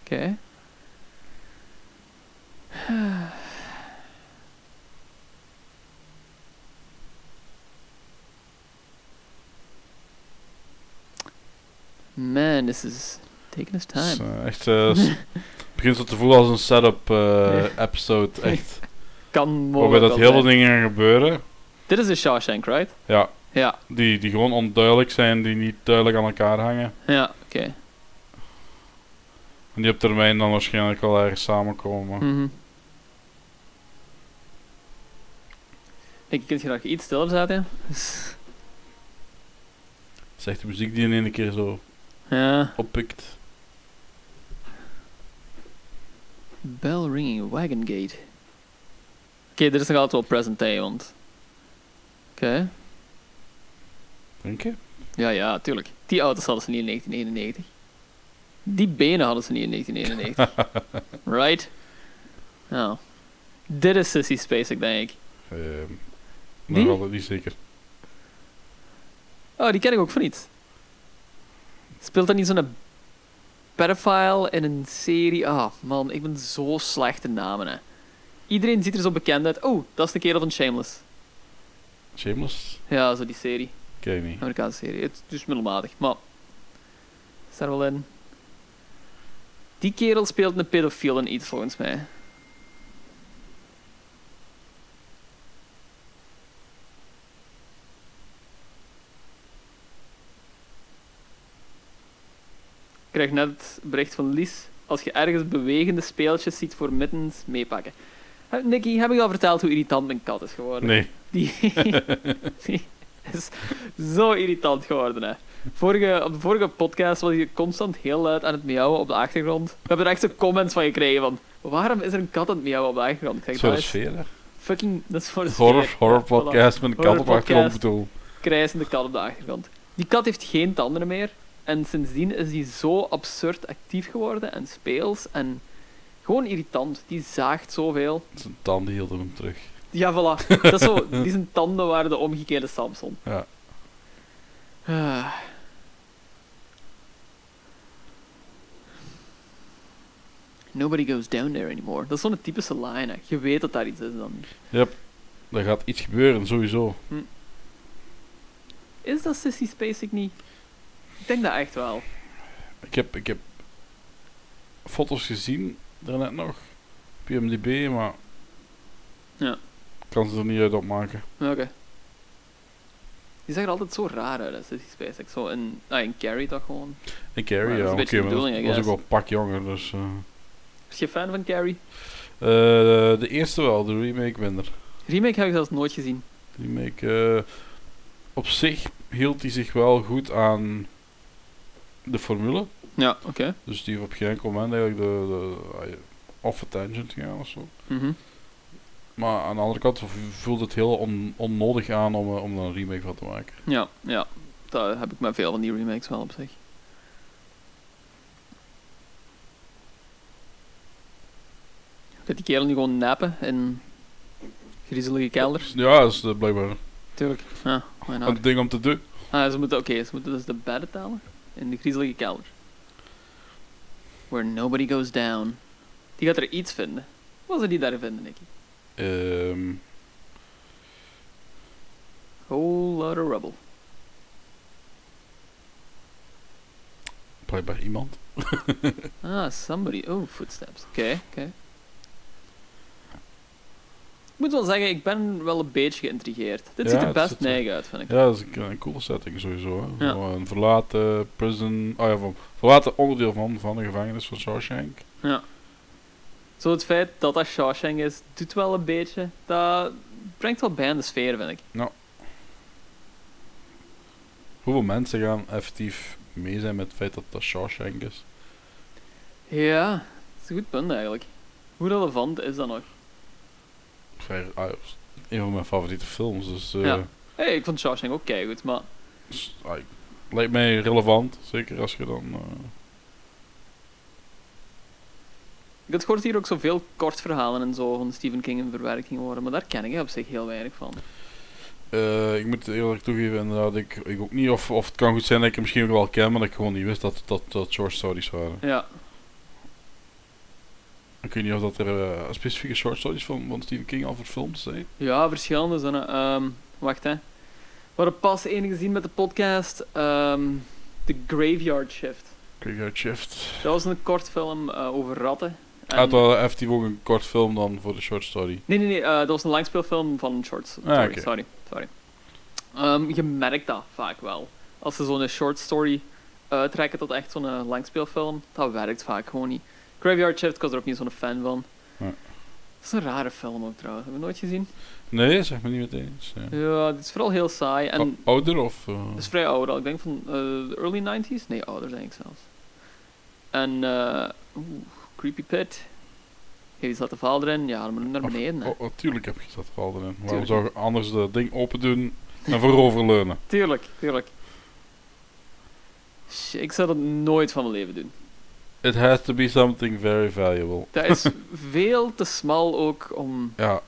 Speaker 5: Oké. Man, this is Taking his
Speaker 7: Het is,
Speaker 5: time.
Speaker 7: eh, echt, eh, s- het begint zo te voelen als een setup eh,
Speaker 5: Ja.
Speaker 7: episode. Echt.
Speaker 5: Kan
Speaker 7: Waarbij
Speaker 5: mogelijk
Speaker 7: dat
Speaker 5: wel
Speaker 7: heel
Speaker 5: zijn.
Speaker 7: veel dingen gaan gebeuren.
Speaker 5: Dit is de Shawshank, right?
Speaker 7: Ja,
Speaker 5: Ja,
Speaker 7: die, die gewoon onduidelijk zijn, die niet duidelijk aan elkaar hangen.
Speaker 5: ja, oké.
Speaker 7: En die op termijn dan waarschijnlijk wel ergens samenkomen.
Speaker 5: Mhm. Ik denk dat je iets stiller zat, ja.
Speaker 7: Het is echt de muziek die in één keer zo
Speaker 5: Ja.
Speaker 7: oppikt.
Speaker 5: Bell ringing, wagon gate. Oké, dit is nog altijd wel present day, want... Oké.
Speaker 7: Denk je?
Speaker 5: Ja, ja, tuurlijk. Die auto's hadden ze niet in 1991. Die benen hadden ze niet in 1991. right? Nou. Dit is Sissy Spacek, denk ik.
Speaker 7: Ehm
Speaker 5: Die?
Speaker 7: nog altijd niet zeker.
Speaker 5: Oh, die ken ik ook van iets. Speelt dat niet zo'n pedophile in een serie? Ah, man, ik ben zo slecht in namen, hè. Iedereen ziet er zo bekend uit. Oh, dat is de kerel van Shameless.
Speaker 7: Shameless?
Speaker 5: Ja, zo die serie.
Speaker 7: Ken je niet.
Speaker 5: Amerikaanse serie. Het is dus middelmatig, maar... Is daar wel in. Die kerel speelt een pedofiel in iets, volgens mij. Ik krijg net het bericht van Lies. Als je ergens bewegende speeltjes ziet voor middens, meepakken. Heb- Nicky, heb ik al verteld hoe irritant mijn kat is geworden?
Speaker 7: Nee.
Speaker 5: Die, die is zo irritant geworden, hè. Vorige, op de vorige podcast was hij constant heel luid aan het miauwen op de achtergrond. We hebben er echt zo comments van gekregen van... Waarom is er een kat aan het miauwen op de achtergrond? Ik zeg,
Speaker 7: Zo
Speaker 5: dat
Speaker 7: de
Speaker 5: is
Speaker 7: sfeer, hè.
Speaker 5: fucking... Dat is voor de
Speaker 7: Horror,
Speaker 5: sfeer.
Speaker 7: horror
Speaker 5: Voilà.
Speaker 7: podcast met een kat op
Speaker 5: Horror
Speaker 7: achtergrond
Speaker 5: podcast.
Speaker 7: bedoel.
Speaker 5: krijsende kat op de achtergrond. Die kat heeft geen tanden meer. En sindsdien is die zo absurd actief geworden en speels en gewoon irritant. Die zaagt zoveel.
Speaker 7: Zijn tanden hielden hem terug.
Speaker 5: Ja, voilà. Dat is zo, die zijn tanden waren de omgekeerde Samson.
Speaker 7: Ja.
Speaker 5: Ah. Nobody goes down there anymore. Dat is zo'n typische line. Hè. Je weet dat daar iets is dan.
Speaker 7: Er gaat iets gebeuren, sowieso.
Speaker 5: Is dat Sissy Spacek niet? Ik denk dat echt wel.
Speaker 7: Ik heb, ik heb foto's gezien daarnet nog. Op IMDb, maar.
Speaker 5: Ja.
Speaker 7: Ik kan ze er niet uit opmaken.
Speaker 5: Oké. Die zag er altijd zo raar uit, hè, Sissy Spacek. Zo in, ah, in Carrie toch gewoon.
Speaker 7: En
Speaker 5: Maar
Speaker 7: Carrie,
Speaker 5: dat is
Speaker 7: ja,
Speaker 5: een
Speaker 7: oké,
Speaker 5: beetje de
Speaker 7: maar dat
Speaker 5: bedoeling, I
Speaker 7: was ook
Speaker 5: guess.
Speaker 7: wel een pak jonger, dus. eh.
Speaker 5: Is je fan van Carrie?
Speaker 7: Eh, de eerste wel, de remake minder.
Speaker 5: Remake heb ik zelfs nooit gezien.
Speaker 7: De remake. eh, op zich hield hij zich wel goed aan de formule.
Speaker 5: Ja, oké.
Speaker 7: Dus die heeft op geen enkel moment eigenlijk de, de, ah, ja, off a tangent gegaan of zo.
Speaker 5: Mhm.
Speaker 7: Maar aan de andere kant v- voelt het heel on- onnodig aan om, eh, om daar een remake van te maken.
Speaker 5: Ja, ja. Daar heb ik maar veel van die remakes wel op zich. Dat die kerel nu gewoon nappen in griezelige kelder.
Speaker 7: Ja, dat is eh, blijkbaar
Speaker 5: Tuurlijk. Ja, why not?
Speaker 7: een ding om te doen.
Speaker 5: Ah, ze moeten, oké, ze moeten dus de bedden tellen in de griezelige kelder. Where nobody goes down. Die gaat er iets vinden. Wat zou die daar vinden, Nicky?
Speaker 7: Ehm,
Speaker 5: Whole lot of rubble.
Speaker 7: blijkbaar iemand.
Speaker 5: Ah, somebody. Oh, footsteps. Oké, oké. Ik moet wel zeggen, ik ben wel een beetje geïntrigeerd. Dit
Speaker 7: Ja,
Speaker 5: ziet er
Speaker 7: het
Speaker 5: best
Speaker 7: ziet er-
Speaker 5: neig uit, vind ik.
Speaker 7: Ja, dat is een, een coole setting sowieso. Hè.
Speaker 5: Ja.
Speaker 7: Zo een verlaten prison... Oh ja, van, verlaten onderdeel van, van de gevangenis van Shawshank.
Speaker 5: Zo het feit dat dat Shawshank is, doet wel een beetje. Dat brengt wel bij aan de sfeer, vind ik.
Speaker 7: Hoeveel mensen gaan effectief mee zijn met het feit dat dat Shawshank is?
Speaker 5: Ja, dat is een goed punt eigenlijk. Hoe relevant is dat nog?
Speaker 7: Vrij, ah, dat is een van mijn favoriete films, dus... eh,
Speaker 5: Ja. Hé, hey, ik vond Shawshank ook goed, maar
Speaker 7: is- ah, lijkt mij relevant, zeker als je dan... eh,
Speaker 5: ik had gehoord dat hier ook zoveel kort verhalen en zo van Stephen King in verwerking worden, maar daar ken ik op zich heel weinig van.
Speaker 7: Eh, ik moet eerlijk toegeven, inderdaad, ik, ik ook niet. Of, of het kan goed zijn dat ik hem misschien ook wel ken, maar dat ik gewoon niet wist dat dat, dat short stories waren.
Speaker 5: Ja,
Speaker 7: Ik weet niet of dat er eh, specifieke short stories van, van Stephen King al verfilmd zijn.
Speaker 5: ja verschillende zijn. er. Ehm, wacht hè. We hadden pas enige gezien met de podcast: ehm The Graveyard Shift.
Speaker 7: Quick Out Shift.
Speaker 5: Dat was een kort film eh, over ratten. En-
Speaker 7: Uit wel heeft hij ook een kort film dan voor de short story.
Speaker 5: Nee, nee, nee. eh, dat was een langspeelfilm van shorts. Sorry,
Speaker 7: Ah, oké.
Speaker 5: sorry. sorry. Ehm, je merkt dat vaak wel. Als ze zo'n short story uitrekken tot echt zo'n eh, langspeelfilm, dat werkt vaak gewoon niet. Graveyard Shift, ik was er ook niet zo'n fan van.
Speaker 7: Nee.
Speaker 5: Dat is een rare film ook trouwens. Hebben we nooit gezien?
Speaker 7: Nee, zeg me niet meteen. eens, ja.
Speaker 5: Ja, het is vooral heel saai. En
Speaker 7: O- Ouder of... eh,
Speaker 5: het is vrij oud al. Ik denk van eh, de early 90s? Nee, ouder denk ik zelfs. En eh oeh, Creepy Pit. Heeft iets laten vallen erin? Ja, dan moet je naar
Speaker 7: Of-
Speaker 5: beneden. hè.
Speaker 7: oh, oh, tuurlijk heb je dat wel erin. Waarom
Speaker 5: Tuurlijk.
Speaker 7: zou je anders dat ding open doen en vooroverleunen?
Speaker 5: Tuurlijk, tuurlijk. Sh- Ik zou dat nooit van mijn leven doen.
Speaker 7: It has to be something very valuable.
Speaker 5: Dat is veel te smal ook om
Speaker 7: Ja,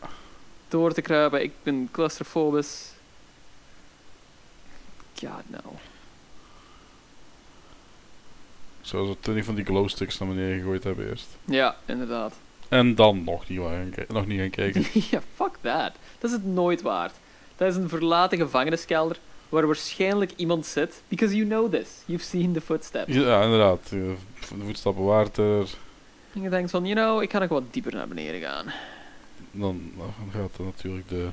Speaker 5: door te kruipen. Ik ben claustrofobisch. God nou. no.
Speaker 7: zoals we twintig van die glowsticks naar beneden gegooid hebben eerst.
Speaker 5: Ja, inderdaad.
Speaker 7: En dan nog niet, waar gaan ki- nog niet gaan kijken.
Speaker 5: ja, fuck that. Dat is het nooit waard. Dat is een verlaten gevangeniskelder waar waarschijnlijk iemand zit. Because you know this. You've seen the footsteps.
Speaker 7: Ja, inderdaad. eh, De voetstappen water.
Speaker 5: En je denkt van, you know, ik ga nog wat dieper naar beneden gaan.
Speaker 7: Dan dan gaat er natuurlijk de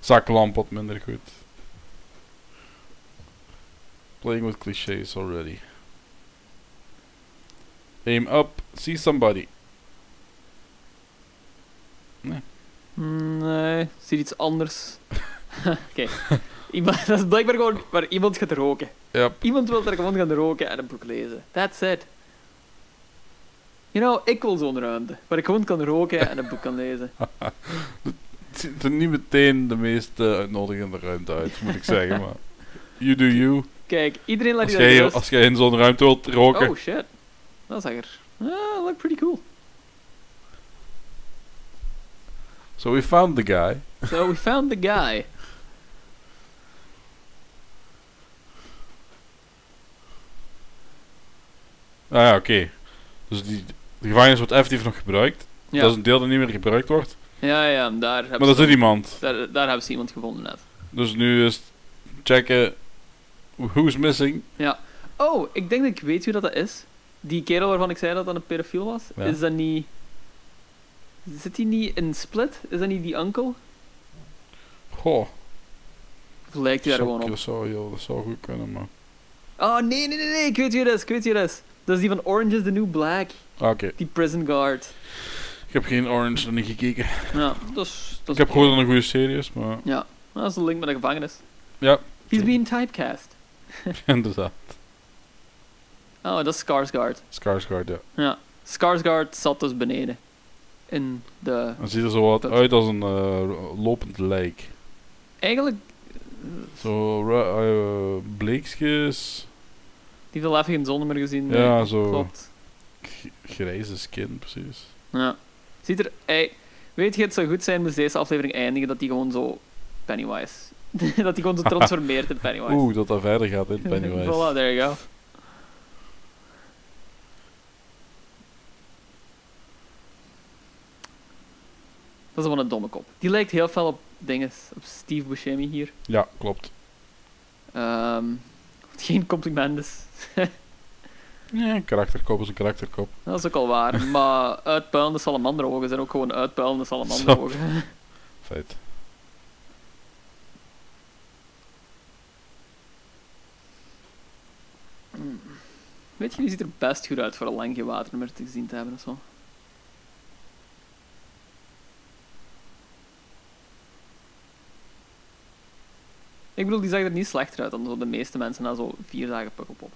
Speaker 7: zaklamp wat minder goed. Playing with clichés already. Aim up, see somebody.
Speaker 5: Mm, Nee, ziet iets anders. Oké. Iemand- Dat is blijkbaar gewoon waar iemand gaat roken.
Speaker 7: Yep.
Speaker 5: Iemand wil er gewoon gaan roken en een boek lezen. That's it. You know, ik wil zo'n ruimte. Waar ik gewoon kan roken en een boek kan lezen.
Speaker 7: Het ziet er niet meteen de meest eh, uitnodigende ruimte uit, moet ik zeggen. Maar you do you.
Speaker 5: Kijk, iedereen laat
Speaker 7: Als
Speaker 5: die daar
Speaker 7: jij,
Speaker 5: gerust.
Speaker 7: als jij in zo'n ruimte wilt roken.
Speaker 5: Oh shit. Dat is er. Ah, look pretty cool.
Speaker 7: So we found the guy.
Speaker 5: So we found the guy.
Speaker 7: Ah ja, oké. Dus die, de gevangenis wordt effectief nog gebruikt.
Speaker 5: Ja,
Speaker 7: Dat is een deel dat niet meer gebruikt wordt.
Speaker 5: ja, ja daar,
Speaker 7: Maar
Speaker 5: hebben
Speaker 7: er
Speaker 5: ze,
Speaker 7: zit iemand.
Speaker 5: daar, daar hebben ze iemand gevonden net.
Speaker 7: Dus nu is het checken who's missing.
Speaker 5: Oh, ik denk dat ik weet wie dat dat is. Die kerel waarvan ik zei dat dat een pedofiel was.
Speaker 7: Ja.
Speaker 5: Is dat niet... Zit hij niet in Split? Is dat niet die uncle?
Speaker 7: Goh,
Speaker 5: Of lijkt hij daar
Speaker 7: zou-
Speaker 5: gewoon op?
Speaker 7: dat zou, heel- dat zou goed kunnen, maar...
Speaker 5: Oh, nee, nee, nee, nee. Ik weet wie dat is. Ik weet wie dat is. Dat is die van Orange is the New Black.
Speaker 7: Ah, Oké,
Speaker 5: Die prison guard.
Speaker 7: ik heb geen Orange nog niet gekeken.
Speaker 5: Ja, dat is... Dat
Speaker 7: Ik
Speaker 5: is
Speaker 7: heb
Speaker 5: oké.
Speaker 7: gehoord dat het een goede serie is, maar...
Speaker 5: Ja, dat is de link met de gevangenis.
Speaker 7: Ja,
Speaker 5: He's
Speaker 7: True.
Speaker 5: being typecast.
Speaker 7: inderdaad.
Speaker 5: Oh, dat is Skarsgård.
Speaker 7: Skarsgård, ja.
Speaker 5: Ja. Skarsgård zat dus beneden. In de...
Speaker 7: Dan ziet er zo wat
Speaker 5: Dat-
Speaker 7: uit als een eh, lopend lijk.
Speaker 5: Eigenlijk,
Speaker 7: Zo ra- eh, bleekjes,
Speaker 5: die veel even geen zonde meer gezien.
Speaker 7: Ja, zo.
Speaker 5: Klopt.
Speaker 7: g- grijze skin, precies.
Speaker 5: Ja. Ziet er... Ey, weet je, het zou goed zijn moest deze aflevering eindigen dat die gewoon zo... Pennywise. dat die gewoon zo transformeert in Pennywise.
Speaker 7: Oeh, dat dat verder gaat in Pennywise.
Speaker 5: voilà, there you go. Dat is wel een domme kop. Die lijkt heel veel op dingen. Op Steve Buscemi hier.
Speaker 7: Ja, klopt.
Speaker 5: Ehm, wat geen compliment is.
Speaker 7: Ja, een karakterkop is een karakterkop.
Speaker 5: Dat is ook al waar. maar uitpuilende salamanderogen zijn ook gewoon uitpuilende salamanderogen.
Speaker 7: Feit.
Speaker 5: Weet je, die ziet er best goed uit voor een lang gewater meer te gezien te hebben of zo. Ik bedoel, die zag er niet slechter uit dan zo de meeste mensen na zo vier dagen pukkelpop.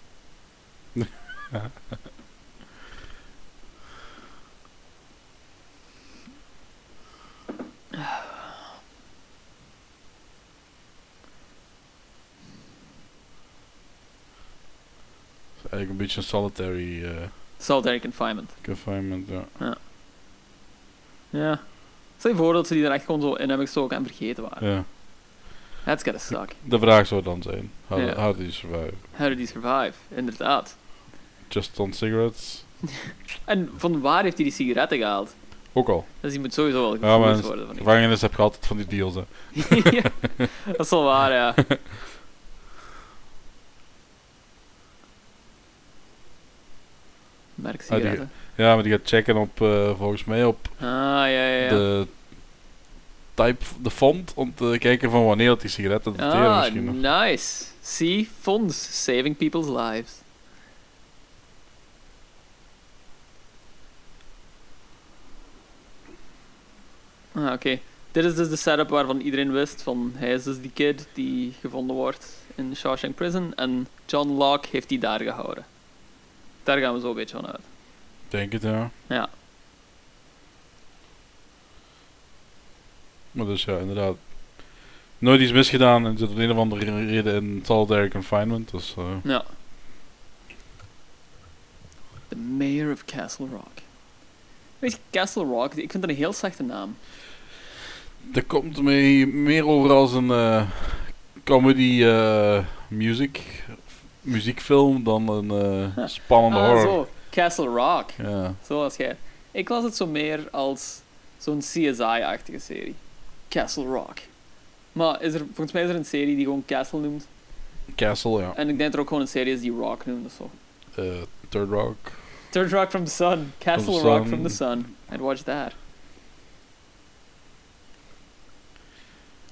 Speaker 7: Het is Eigenlijk een beetje een solitary eh,
Speaker 5: Solitary confinement.
Speaker 7: confinement, ja.
Speaker 5: Ja. Stel je voor dat ze die er echt gewoon zo in hebben gestoken en vergeten waren.
Speaker 7: ja.
Speaker 5: That's gonna suck.
Speaker 7: De vraag zou dan zijn, how,
Speaker 5: Ja.
Speaker 7: how do you survive?
Speaker 5: How did he survive? Inderdaad.
Speaker 7: Just on cigarettes?
Speaker 5: En van waar heeft hij die sigaretten gehaald?
Speaker 7: Ook al.
Speaker 5: Dus die moet sowieso wel
Speaker 7: Ja, maar
Speaker 5: gevoerd worden van iemand.
Speaker 7: gevangenis heb je altijd van die deals, hè.
Speaker 5: ja, dat is wel waar,
Speaker 7: Oh,
Speaker 5: ja. Merk
Speaker 7: Ah, die-
Speaker 5: sigaretten.
Speaker 7: Ja, maar die gaat checken op, eh, volgens mij, op
Speaker 5: Ah, ja, ja, ja.
Speaker 7: de type, de font, om te kijken van wanneer dat die sigaretten dateren
Speaker 5: ah,
Speaker 7: misschien. nog.
Speaker 5: nice. See, funds, saving people's lives. Ah, oké. Dit is dus de setup waarvan iedereen wist van hij is dus die kid die gevonden wordt in Shawshank Prison en John Locke heeft die daar gehouden. Daar gaan we zo een beetje van uit.
Speaker 7: Ik Denk het, ja.
Speaker 5: Ja.
Speaker 7: Maar dus ja, inderdaad. Nooit iets misgedaan en zit om een of andere reden in solitary confinement. Dus, eh,
Speaker 5: Ja. The Mayor of Castle Rock. Weet je, Castle Rock, ik vind dat een heel slechte naam.
Speaker 7: er komt mee meer over als een eh, comedy eh, music, muziekfilm dan een eh, spannende
Speaker 5: Ah,
Speaker 7: horror.
Speaker 5: zo. Castle Rock.
Speaker 7: Ja.
Speaker 5: Zoals jij. Ik las het zo meer als zo'n CSI-achtige serie. Castle Rock. Maar is er, volgens mij is er een serie die gewoon Castle noemt.
Speaker 7: Castle, ja.
Speaker 5: En ik denk dat er ook gewoon een serie is die Rock noemt of zo.
Speaker 7: Eh, Third Rock.
Speaker 5: Third Rock from the Sun. Castle
Speaker 7: From the
Speaker 5: Rock
Speaker 7: Sun.
Speaker 5: from the Sun. I'd watch that.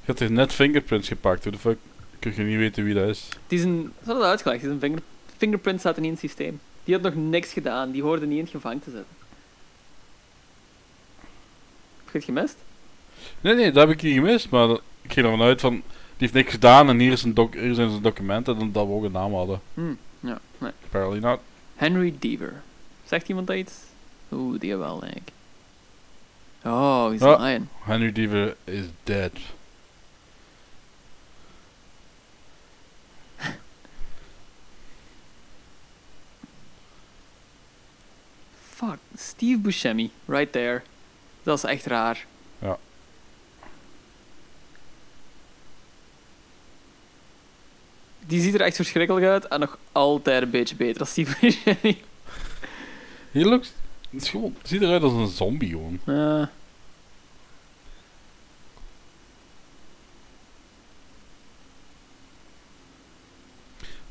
Speaker 7: Je hebt er net fingerprints gepakt. Hoe de fuck kun je niet weten wie dat is?
Speaker 5: Die is een, ze hadden dat uitgelegd, die is een vinger- fingerprint staat niet in het systeem. Die had nog niks gedaan, die hoorde niet in het gevangen te zitten. Heb je het gemist?
Speaker 7: Nee, nee, dat heb ik niet gemist. Maar dat- ik ging ervan uit van... Die heeft niks gedaan en hier, is een doc hier zijn zijn documenten. Dan dat we ook een naam hadden.
Speaker 5: Hm, ja, nee.
Speaker 7: Apparently not.
Speaker 5: Henry Deaver. Zegt iemand dat iets? Oeh, die wel, denk ik. Oh, he's
Speaker 7: Ja.
Speaker 5: lying.
Speaker 7: Henry Deaver is dead.
Speaker 5: Fuck, Steve Buscemi, right there. Dat is echt raar.
Speaker 7: Ja.
Speaker 5: Die ziet er echt verschrikkelijk uit en nog altijd een beetje beter als Steve Buscemi.
Speaker 7: He looks... Het is gewoon, het ziet eruit als een zombie gewoon.
Speaker 5: Eh.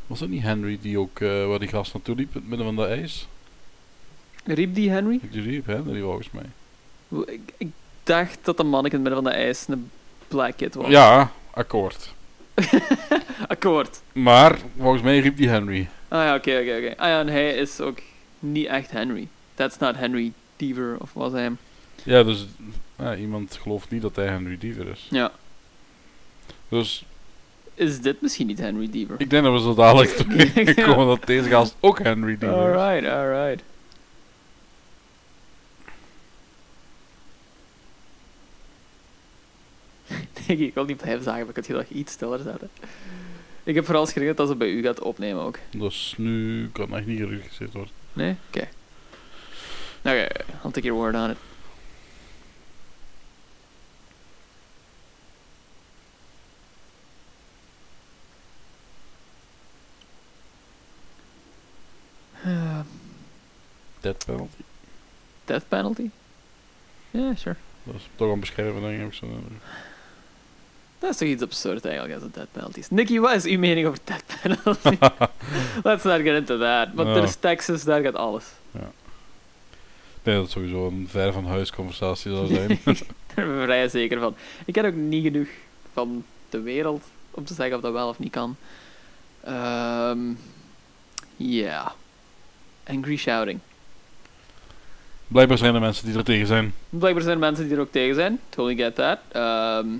Speaker 7: Was dat niet Henry die ook... eh, waar die gast naartoe liep? In het midden van de ijs?
Speaker 5: riep die Henry?
Speaker 7: Die liep Henry volgens mij.
Speaker 5: Hoe- Ik, ik dacht dat de man in het midden van de ijs een black kid was.
Speaker 7: Ja, akkoord.
Speaker 5: Akkoord.
Speaker 7: Maar volgens mij riep die Henry.
Speaker 5: Ah ja, oké, oké, oké. Ah ja, en hij is ook niet echt Henry. That's not Henry Deaver, of was hij hem?
Speaker 7: Ja, dus... ja, iemand gelooft niet dat hij Henry Deaver is.
Speaker 5: Ja.
Speaker 7: Dus
Speaker 5: Is dit misschien niet Henry Deaver?
Speaker 7: Ik denk dat we zo dadelijk komen dat deze gast ook Henry Deaver is.
Speaker 5: Alright, alright. Nee, ik wil niet blijven zagen, maar ik had je dat iets stiller zetten. Ik heb vooral schrik dat dat ze bij u gaat opnemen ook.
Speaker 7: Dus nu kan echt niet geregistreerd worden.
Speaker 5: Nee? Oké. Oké, I'll take your word on it.
Speaker 7: Death penalty.
Speaker 5: Death penalty? Ja, sure.
Speaker 7: Dat is toch een bescherming, denk ik. Zo.
Speaker 5: Dat is toch iets absurd eigenlijk als het death penalty is. Nicky, wat is uw mening over death penalty? Let's not get into that. Want er
Speaker 7: Ja.
Speaker 5: is Texas, daar gaat alles.
Speaker 7: Nee, dat is sowieso een ver van huis conversatie zou zijn.
Speaker 5: Daar ben ik vrij zeker van. Ik ken ook niet genoeg van de wereld om te zeggen of dat wel of niet kan. Ehm, Ja. Angry shouting.
Speaker 7: Blijkbaar zijn er mensen die er tegen zijn.
Speaker 5: Blijkbaar zijn er mensen die er ook tegen zijn. Totally get that. Ehm,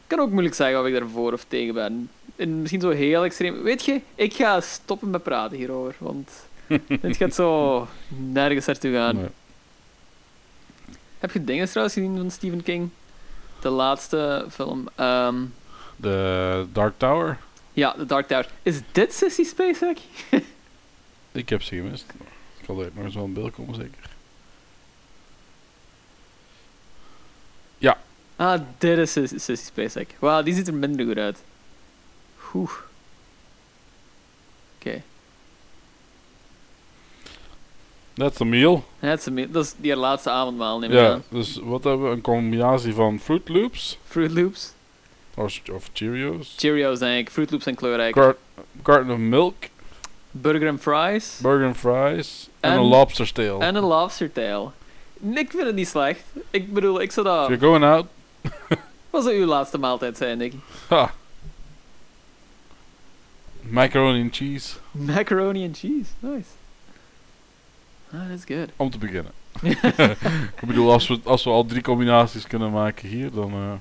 Speaker 5: ik kan ook moeilijk zeggen of ik daar voor of tegen ben. En misschien zo heel extreem. Weet je, ik ga stoppen met praten hierover. Want dit gaat zo nergens naartoe gaan.
Speaker 7: Nee.
Speaker 5: Heb je dingen trouwens gezien van Stephen King? De laatste film. Ehm,
Speaker 7: De Dark Tower,
Speaker 5: ja, The Dark Tower. Is dit Sissy Spacek?
Speaker 7: ik heb ze gemist. Ik had er nog eens wel een beeld komen, zeker.
Speaker 5: Ah, dit is Sis- Sissy Spacek. Wauw, die ziet er minder goed uit. Oeh. Oké.
Speaker 7: That's a meal.
Speaker 5: Dat is een- dat is die laatste avondmaal, neem ik
Speaker 7: Ja,
Speaker 5: aan.
Speaker 7: dus wat hebben we? Een combinatie van Fruit Loops
Speaker 5: Fruit Loops.
Speaker 7: of, of Cheerios.
Speaker 5: Cheerios, denk ik. Fruit Loops en kleurrijk.
Speaker 7: Cart- Carton of Milk.
Speaker 5: burger and fries
Speaker 7: Burger and fries. En,
Speaker 5: En-
Speaker 7: een lobster tail.
Speaker 5: en een lobster tail. Ik vind het niet slecht. Ik bedoel, ik zou
Speaker 7: If
Speaker 5: dat...
Speaker 7: you're going out,
Speaker 5: Was dat uw laatste maaltijd zijn, Nicky?
Speaker 7: ha. Macaroni and cheese.
Speaker 5: Macaroni and cheese. Nice. Ah, that's good.
Speaker 7: Om te beginnen. ik bedoel, als we, als we al drie combinaties kunnen maken hier, dan... eh,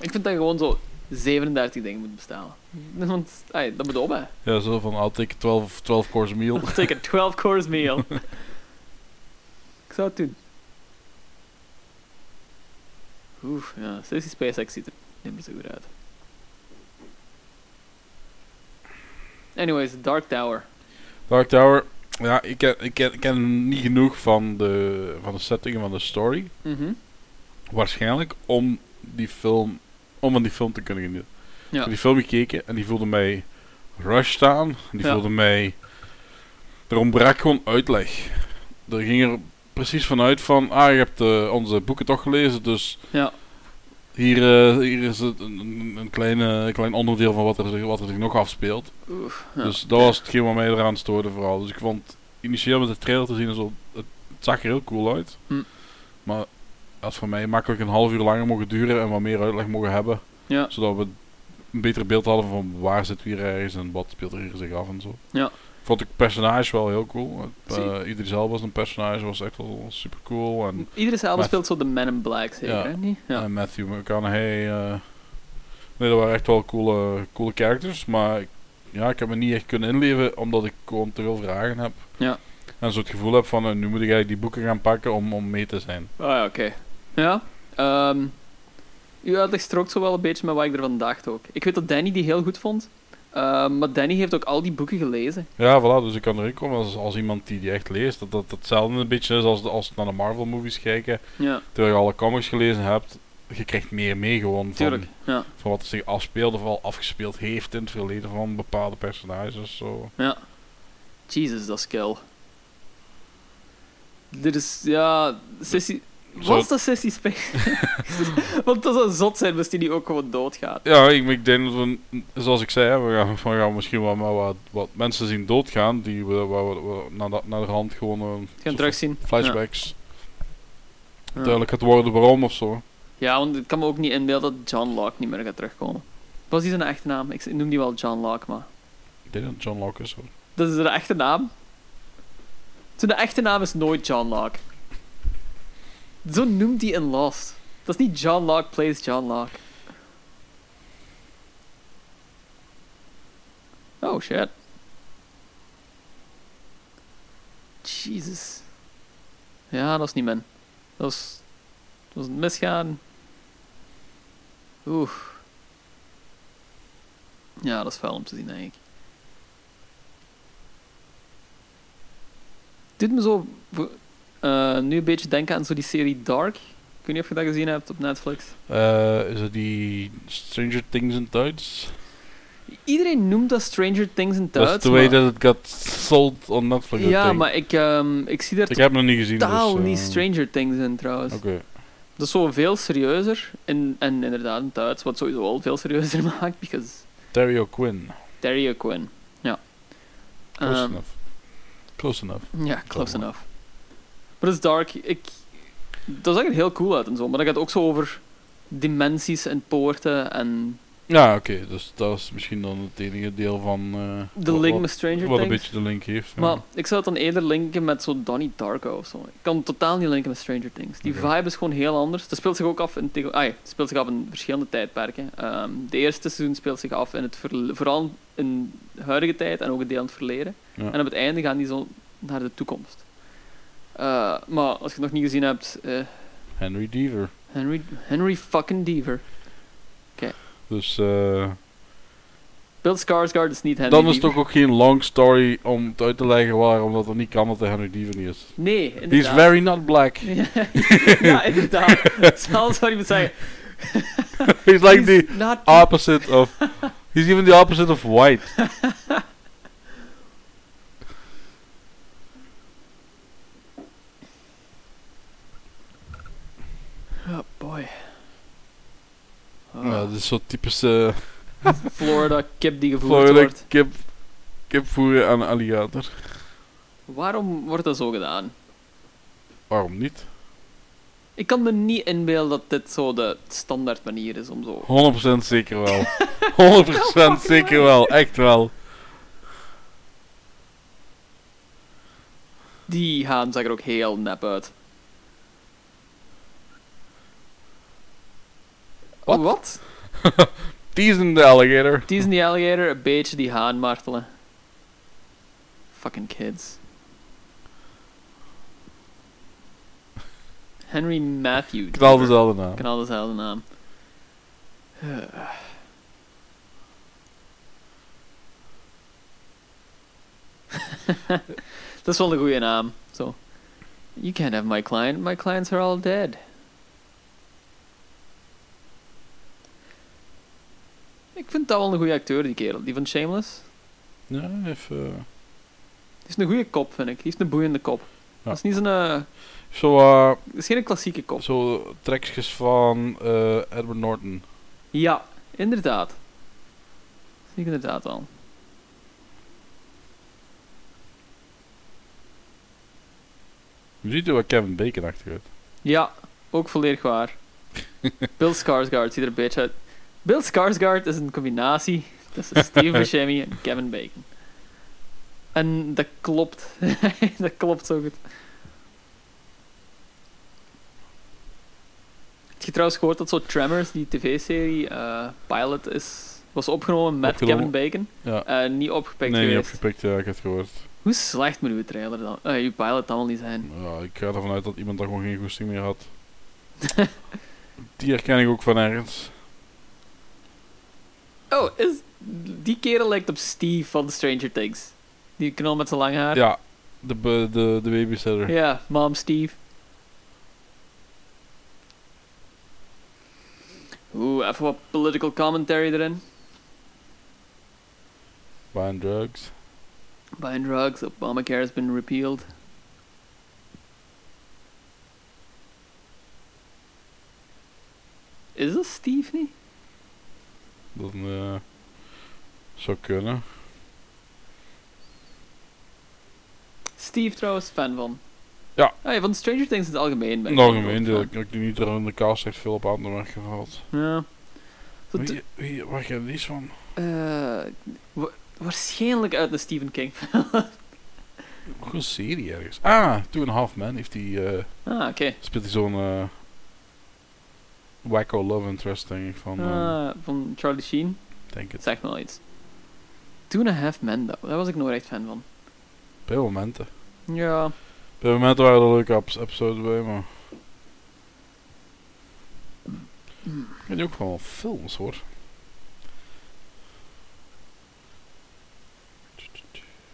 Speaker 5: Ik vind dat je gewoon zo 37 dingen moet bestellen. Want, ai, dat moet op, hè.
Speaker 7: ja, zo van, I'll take a 12, 12 course meal.
Speaker 5: I'll take a 12 course meal. ik zou het doen. Oef, ja, zelfs die SpaceX ziet er niet meer zo goed uit. Anyways, Dark Tower.
Speaker 7: Dark Tower. Ja, ik ken, ik ken, ik ken niet genoeg van de, van de setting en van de story.
Speaker 5: Mhm.
Speaker 7: Waarschijnlijk om die film, om aan die film te kunnen genieten. Ik heb
Speaker 5: Ja.
Speaker 7: die film gekeken en die voelde mij rushed aan. Die
Speaker 5: Ja.
Speaker 7: voelde mij... Er ontbrak gewoon uitleg. Er ging er precies vanuit van... Ah, je hebt eh, onze boeken toch gelezen, dus...
Speaker 5: Ja.
Speaker 7: Hier, eh, hier is het een, een, een kleine, een klein onderdeel van wat er, zich- wat er zich nog afspeelt.
Speaker 5: Oef, ja.
Speaker 7: Dus dat was hetgeen wat mij eraan stoorde vooral. Dus ik vond initieel met de trailer te zien, en zo, het zag er heel cool uit.
Speaker 5: Hm.
Speaker 7: Maar het had voor mij makkelijk een half uur langer mogen duren en wat meer uitleg mogen hebben.
Speaker 5: Ja.
Speaker 7: Zodat we een beter beeld hadden van waar zit hier ergens en wat speelt er hier zich af en zo.
Speaker 5: Ja.
Speaker 7: Vond ik het personage wel heel cool. Het,
Speaker 5: Zie.
Speaker 7: eh, Idris Elba was een personage, was echt wel super cool. En,
Speaker 5: Iedere zelf
Speaker 7: Maar-
Speaker 5: speelt zo de Men in Black, zeker,
Speaker 7: Ja.
Speaker 5: hè? Niet? Ja.
Speaker 7: en Matthew McConaughey. eh, nee, dat waren echt wel coole, coole characters. Maar ik, ja, ik heb me niet echt kunnen inleven omdat ik gewoon te veel vragen heb.
Speaker 5: Ja.
Speaker 7: En zo het gevoel heb van eh, nu moet ik eigenlijk die boeken gaan pakken om, om mee te zijn.
Speaker 5: Ah ja, oké. Ja. ehm, uw uitleg strookt zo wel een beetje met wat ik ervan dacht ook. Ik weet dat Danny die heel goed vond. ehm, maar Danny heeft ook al die boeken gelezen.
Speaker 7: Ja, voilà, dus ik kan erin komen als, als iemand die die echt leest. Dat dat dat hetzelfde een beetje is als, de- als naar de Marvel movies kijken.
Speaker 5: Ja,
Speaker 7: Terwijl je alle comics gelezen hebt, je krijgt meer mee gewoon van,
Speaker 5: tuurlijk. Ja,
Speaker 7: van wat er zich afspeelde of al afgespeeld heeft in het verleden van bepaalde personages of zo.
Speaker 5: ja. Jesus, dat is kel. Dit is, ja... Sissy...
Speaker 7: Zo-
Speaker 5: Was dat Sissy Space? Want dat zou zot zijn als die die ook gewoon doodgaat.
Speaker 7: Ja, ik, ik denk dat we, zoals ik zei, we gaan, we gaan misschien wel maar wat, wat mensen zien doodgaan die we, waar we, we naar, de, naar de hand gewoon eh,
Speaker 5: Gaan
Speaker 7: soort
Speaker 5: terugzien.
Speaker 7: van flashbacks
Speaker 5: Ja. Ja.
Speaker 7: duidelijk gaat worden waarom of zo.
Speaker 5: Ja, want ik kan me ook niet inbeelden dat John Locke niet meer gaat terugkomen. Was die zijn echte naam? Ik noem die wel John Locke, maar...
Speaker 7: Ik denk dat John Locke is hoor.
Speaker 5: Dat is de echte naam. Zijn echte naam is nooit John Locke. Zo noemt hij in Lost. Dat is niet John Locke plays John Locke. Oh shit. Jesus. Ja, dat is niet min. Dat was, dat was een misgaan. Oeh. Ja, dat is vuil om te zien, denk ik. doet me zo vo- eh, nu een beetje denken aan zo die serie Dark. Ik weet niet of je dat gezien hebt op Netflix.
Speaker 7: Eh, is het die Stranger Things in Duits?
Speaker 5: Iedereen noemt dat Stranger Things in
Speaker 7: Dat is
Speaker 5: Duits.
Speaker 7: the way
Speaker 5: maar-
Speaker 7: that it got sold on Netflix. I
Speaker 5: Ja,
Speaker 7: think.
Speaker 5: maar ik, ehm, ik zie daar
Speaker 7: ik heb hem nog niet gezien.
Speaker 5: totaal
Speaker 7: dus, eh,
Speaker 5: niet Stranger Things in trouwens.
Speaker 7: Oké.
Speaker 5: Dat is zo veel serieuzer. En, en inderdaad, in het Duits, wat sowieso al veel serieuzer maakt. Because
Speaker 7: Terry O'Quinn.
Speaker 5: Terry O'Quinn. Ja.
Speaker 7: Close
Speaker 5: Ehm,
Speaker 7: enough. Close enough.
Speaker 5: Ja, close
Speaker 7: Kom.
Speaker 5: enough. Maar dat is dark. Ik, dat zag er heel cool uit en zo. Maar dat gaat ook zo over dimensies en poorten en
Speaker 7: Ja, oké. dus dat is misschien dan het enige deel van... eh,
Speaker 5: de
Speaker 7: wat-
Speaker 5: link
Speaker 7: wat-
Speaker 5: met Stranger
Speaker 7: Wat een
Speaker 5: Things.
Speaker 7: beetje de link heeft. ja.
Speaker 5: Maar ik zou het dan eerder linken met zo Donnie Darko of zo. Ik kan het totaal niet linken met Stranger Things. Die
Speaker 7: Oké.
Speaker 5: vibe is gewoon heel anders. Dat speelt zich ook af in, tegen, ah, ja, het speelt zich af in verschillende tijdperken. Ehm, de eerste seizoen speelt zich af in het verle- vooral in de huidige tijd en ook een deel in het verleden.
Speaker 7: Ja.
Speaker 5: En op het einde gaan die zo naar de toekomst. Eh, maar als je het nog niet gezien hebt, eh,
Speaker 7: Henry Deaver.
Speaker 5: Henry, Henry fucking Deaver.
Speaker 7: Dus eh,
Speaker 5: Bill Skarsgård is niet Henry
Speaker 7: dan is
Speaker 5: Deaver.
Speaker 7: het toch ook geen long story om het uit te leggen waarom dat het niet kan dat de Henry Deaver niet is.
Speaker 5: Nee, inderdaad.
Speaker 7: He's very not black.
Speaker 5: ja, inderdaad. Dat is alles wat je moet zeggen.
Speaker 7: He's like the
Speaker 5: He's not
Speaker 7: opposite of... He's even the opposite of white.
Speaker 5: Oh boy. Oh,
Speaker 7: Ja, dat is zo'n typische
Speaker 5: Florida kip die gevoerd
Speaker 7: Florida
Speaker 5: wordt.
Speaker 7: kip Kipvoeren aan een alligator.
Speaker 5: Waarom wordt dat zo gedaan?
Speaker 7: Waarom niet?
Speaker 5: Ik kan me niet inbeelden dat dit zo de standaard manier is om zo.
Speaker 7: 100% zeker wel. 100% zeker wel, echt wel.
Speaker 5: Die haan zag er ook heel nep uit.
Speaker 7: Wat?
Speaker 5: Oh, wat?
Speaker 7: Teasing the alligator.
Speaker 5: Die is in die alligator een beetje die haan martelen. Fucking kids. Henry Matthew.
Speaker 7: Knal dezelfde naam.
Speaker 5: Knal dezelfde naam. Dat is wel een goede naam. Zo. You can't have my client. My clients are all dead. Ik vind dat wel een goede acteur, die kerel. Die van Shameless.
Speaker 7: Ja, even. eh,
Speaker 5: Die heeft een goede kop, vind ik. Die heeft een boeiende kop. Dat is niet zo'n... eh,
Speaker 7: Zo, eh,
Speaker 5: dat is geen klassieke
Speaker 7: Dus-
Speaker 5: kop.
Speaker 7: zo trekjes van eh Edward Norton.
Speaker 5: Ja, inderdaad. Zie ik inderdaad al.
Speaker 7: Je ziet er wel Kevin Bacon achteruit.
Speaker 5: Ja, ook volledig waar. Bill Skarsgård ziet er een beetje uit. Bill Skarsgård is een combinatie tussen Steve Buscemi en Kevin Bacon. En dat klopt. dat klopt zo goed. Heb je trouwens gehoord dat zo Tremors, die tv-serie, eh, pilot is, was opgenomen met Kevin
Speaker 7: Opgenomen.
Speaker 5: Bacon?
Speaker 7: Ja.
Speaker 5: En niet opgepikt
Speaker 7: nee, niet
Speaker 5: geweest.
Speaker 7: opgepikt, ja, ik heb het gehoord.
Speaker 5: Hoe slecht moet uw trailer dan, eh, uw pilot dan wel niet zijn?
Speaker 7: Ja, ik ga ervan uit dat iemand daar gewoon geen goesting meer had. Die herken ik ook van ergens.
Speaker 5: Oh, is, die kerel lijkt op Steve van Stranger Things. Die knal met zijn lang haar.
Speaker 7: Ja, de, be- de, de babysitter.
Speaker 5: Ja, mom Steve. Oeh, even wat political commentary erin.
Speaker 7: Buying drugs.
Speaker 5: Buying drugs, Obamacare has been repealed. Is dat Steve niet?
Speaker 7: Dat eh, zou kunnen.
Speaker 5: Steve trouwens, fan van.
Speaker 7: Ja.
Speaker 5: Ah, ja, van Stranger Things in het algemeen. ben
Speaker 7: In
Speaker 5: ik
Speaker 7: het
Speaker 5: wel
Speaker 7: algemeen, deel
Speaker 5: fan.
Speaker 7: ik ik die niet er in de cast echt veel op aan te merken gehad.
Speaker 5: Ja. Zo te-
Speaker 7: Wie, wie, waar gaat die van?
Speaker 5: eh, wa- waarschijnlijk uit een Stephen King film.
Speaker 7: Ook een serie ergens. Ah, Two and a Half Man heeft die, eh,
Speaker 5: ah, oké.
Speaker 7: speelt hij zo'n eh, wacko love interest, denk ik. Van, eh,
Speaker 5: Ah, van Charlie Sheen.
Speaker 7: denk het.
Speaker 5: Zeg me wel iets. Two and a Half Men, dat- daar was ik nooit echt fan van.
Speaker 7: Bij momenten.
Speaker 5: Ja.
Speaker 7: Bij momenten waren er leuke abs- episodes bij, maar... Ik weet ook wel films, hoor.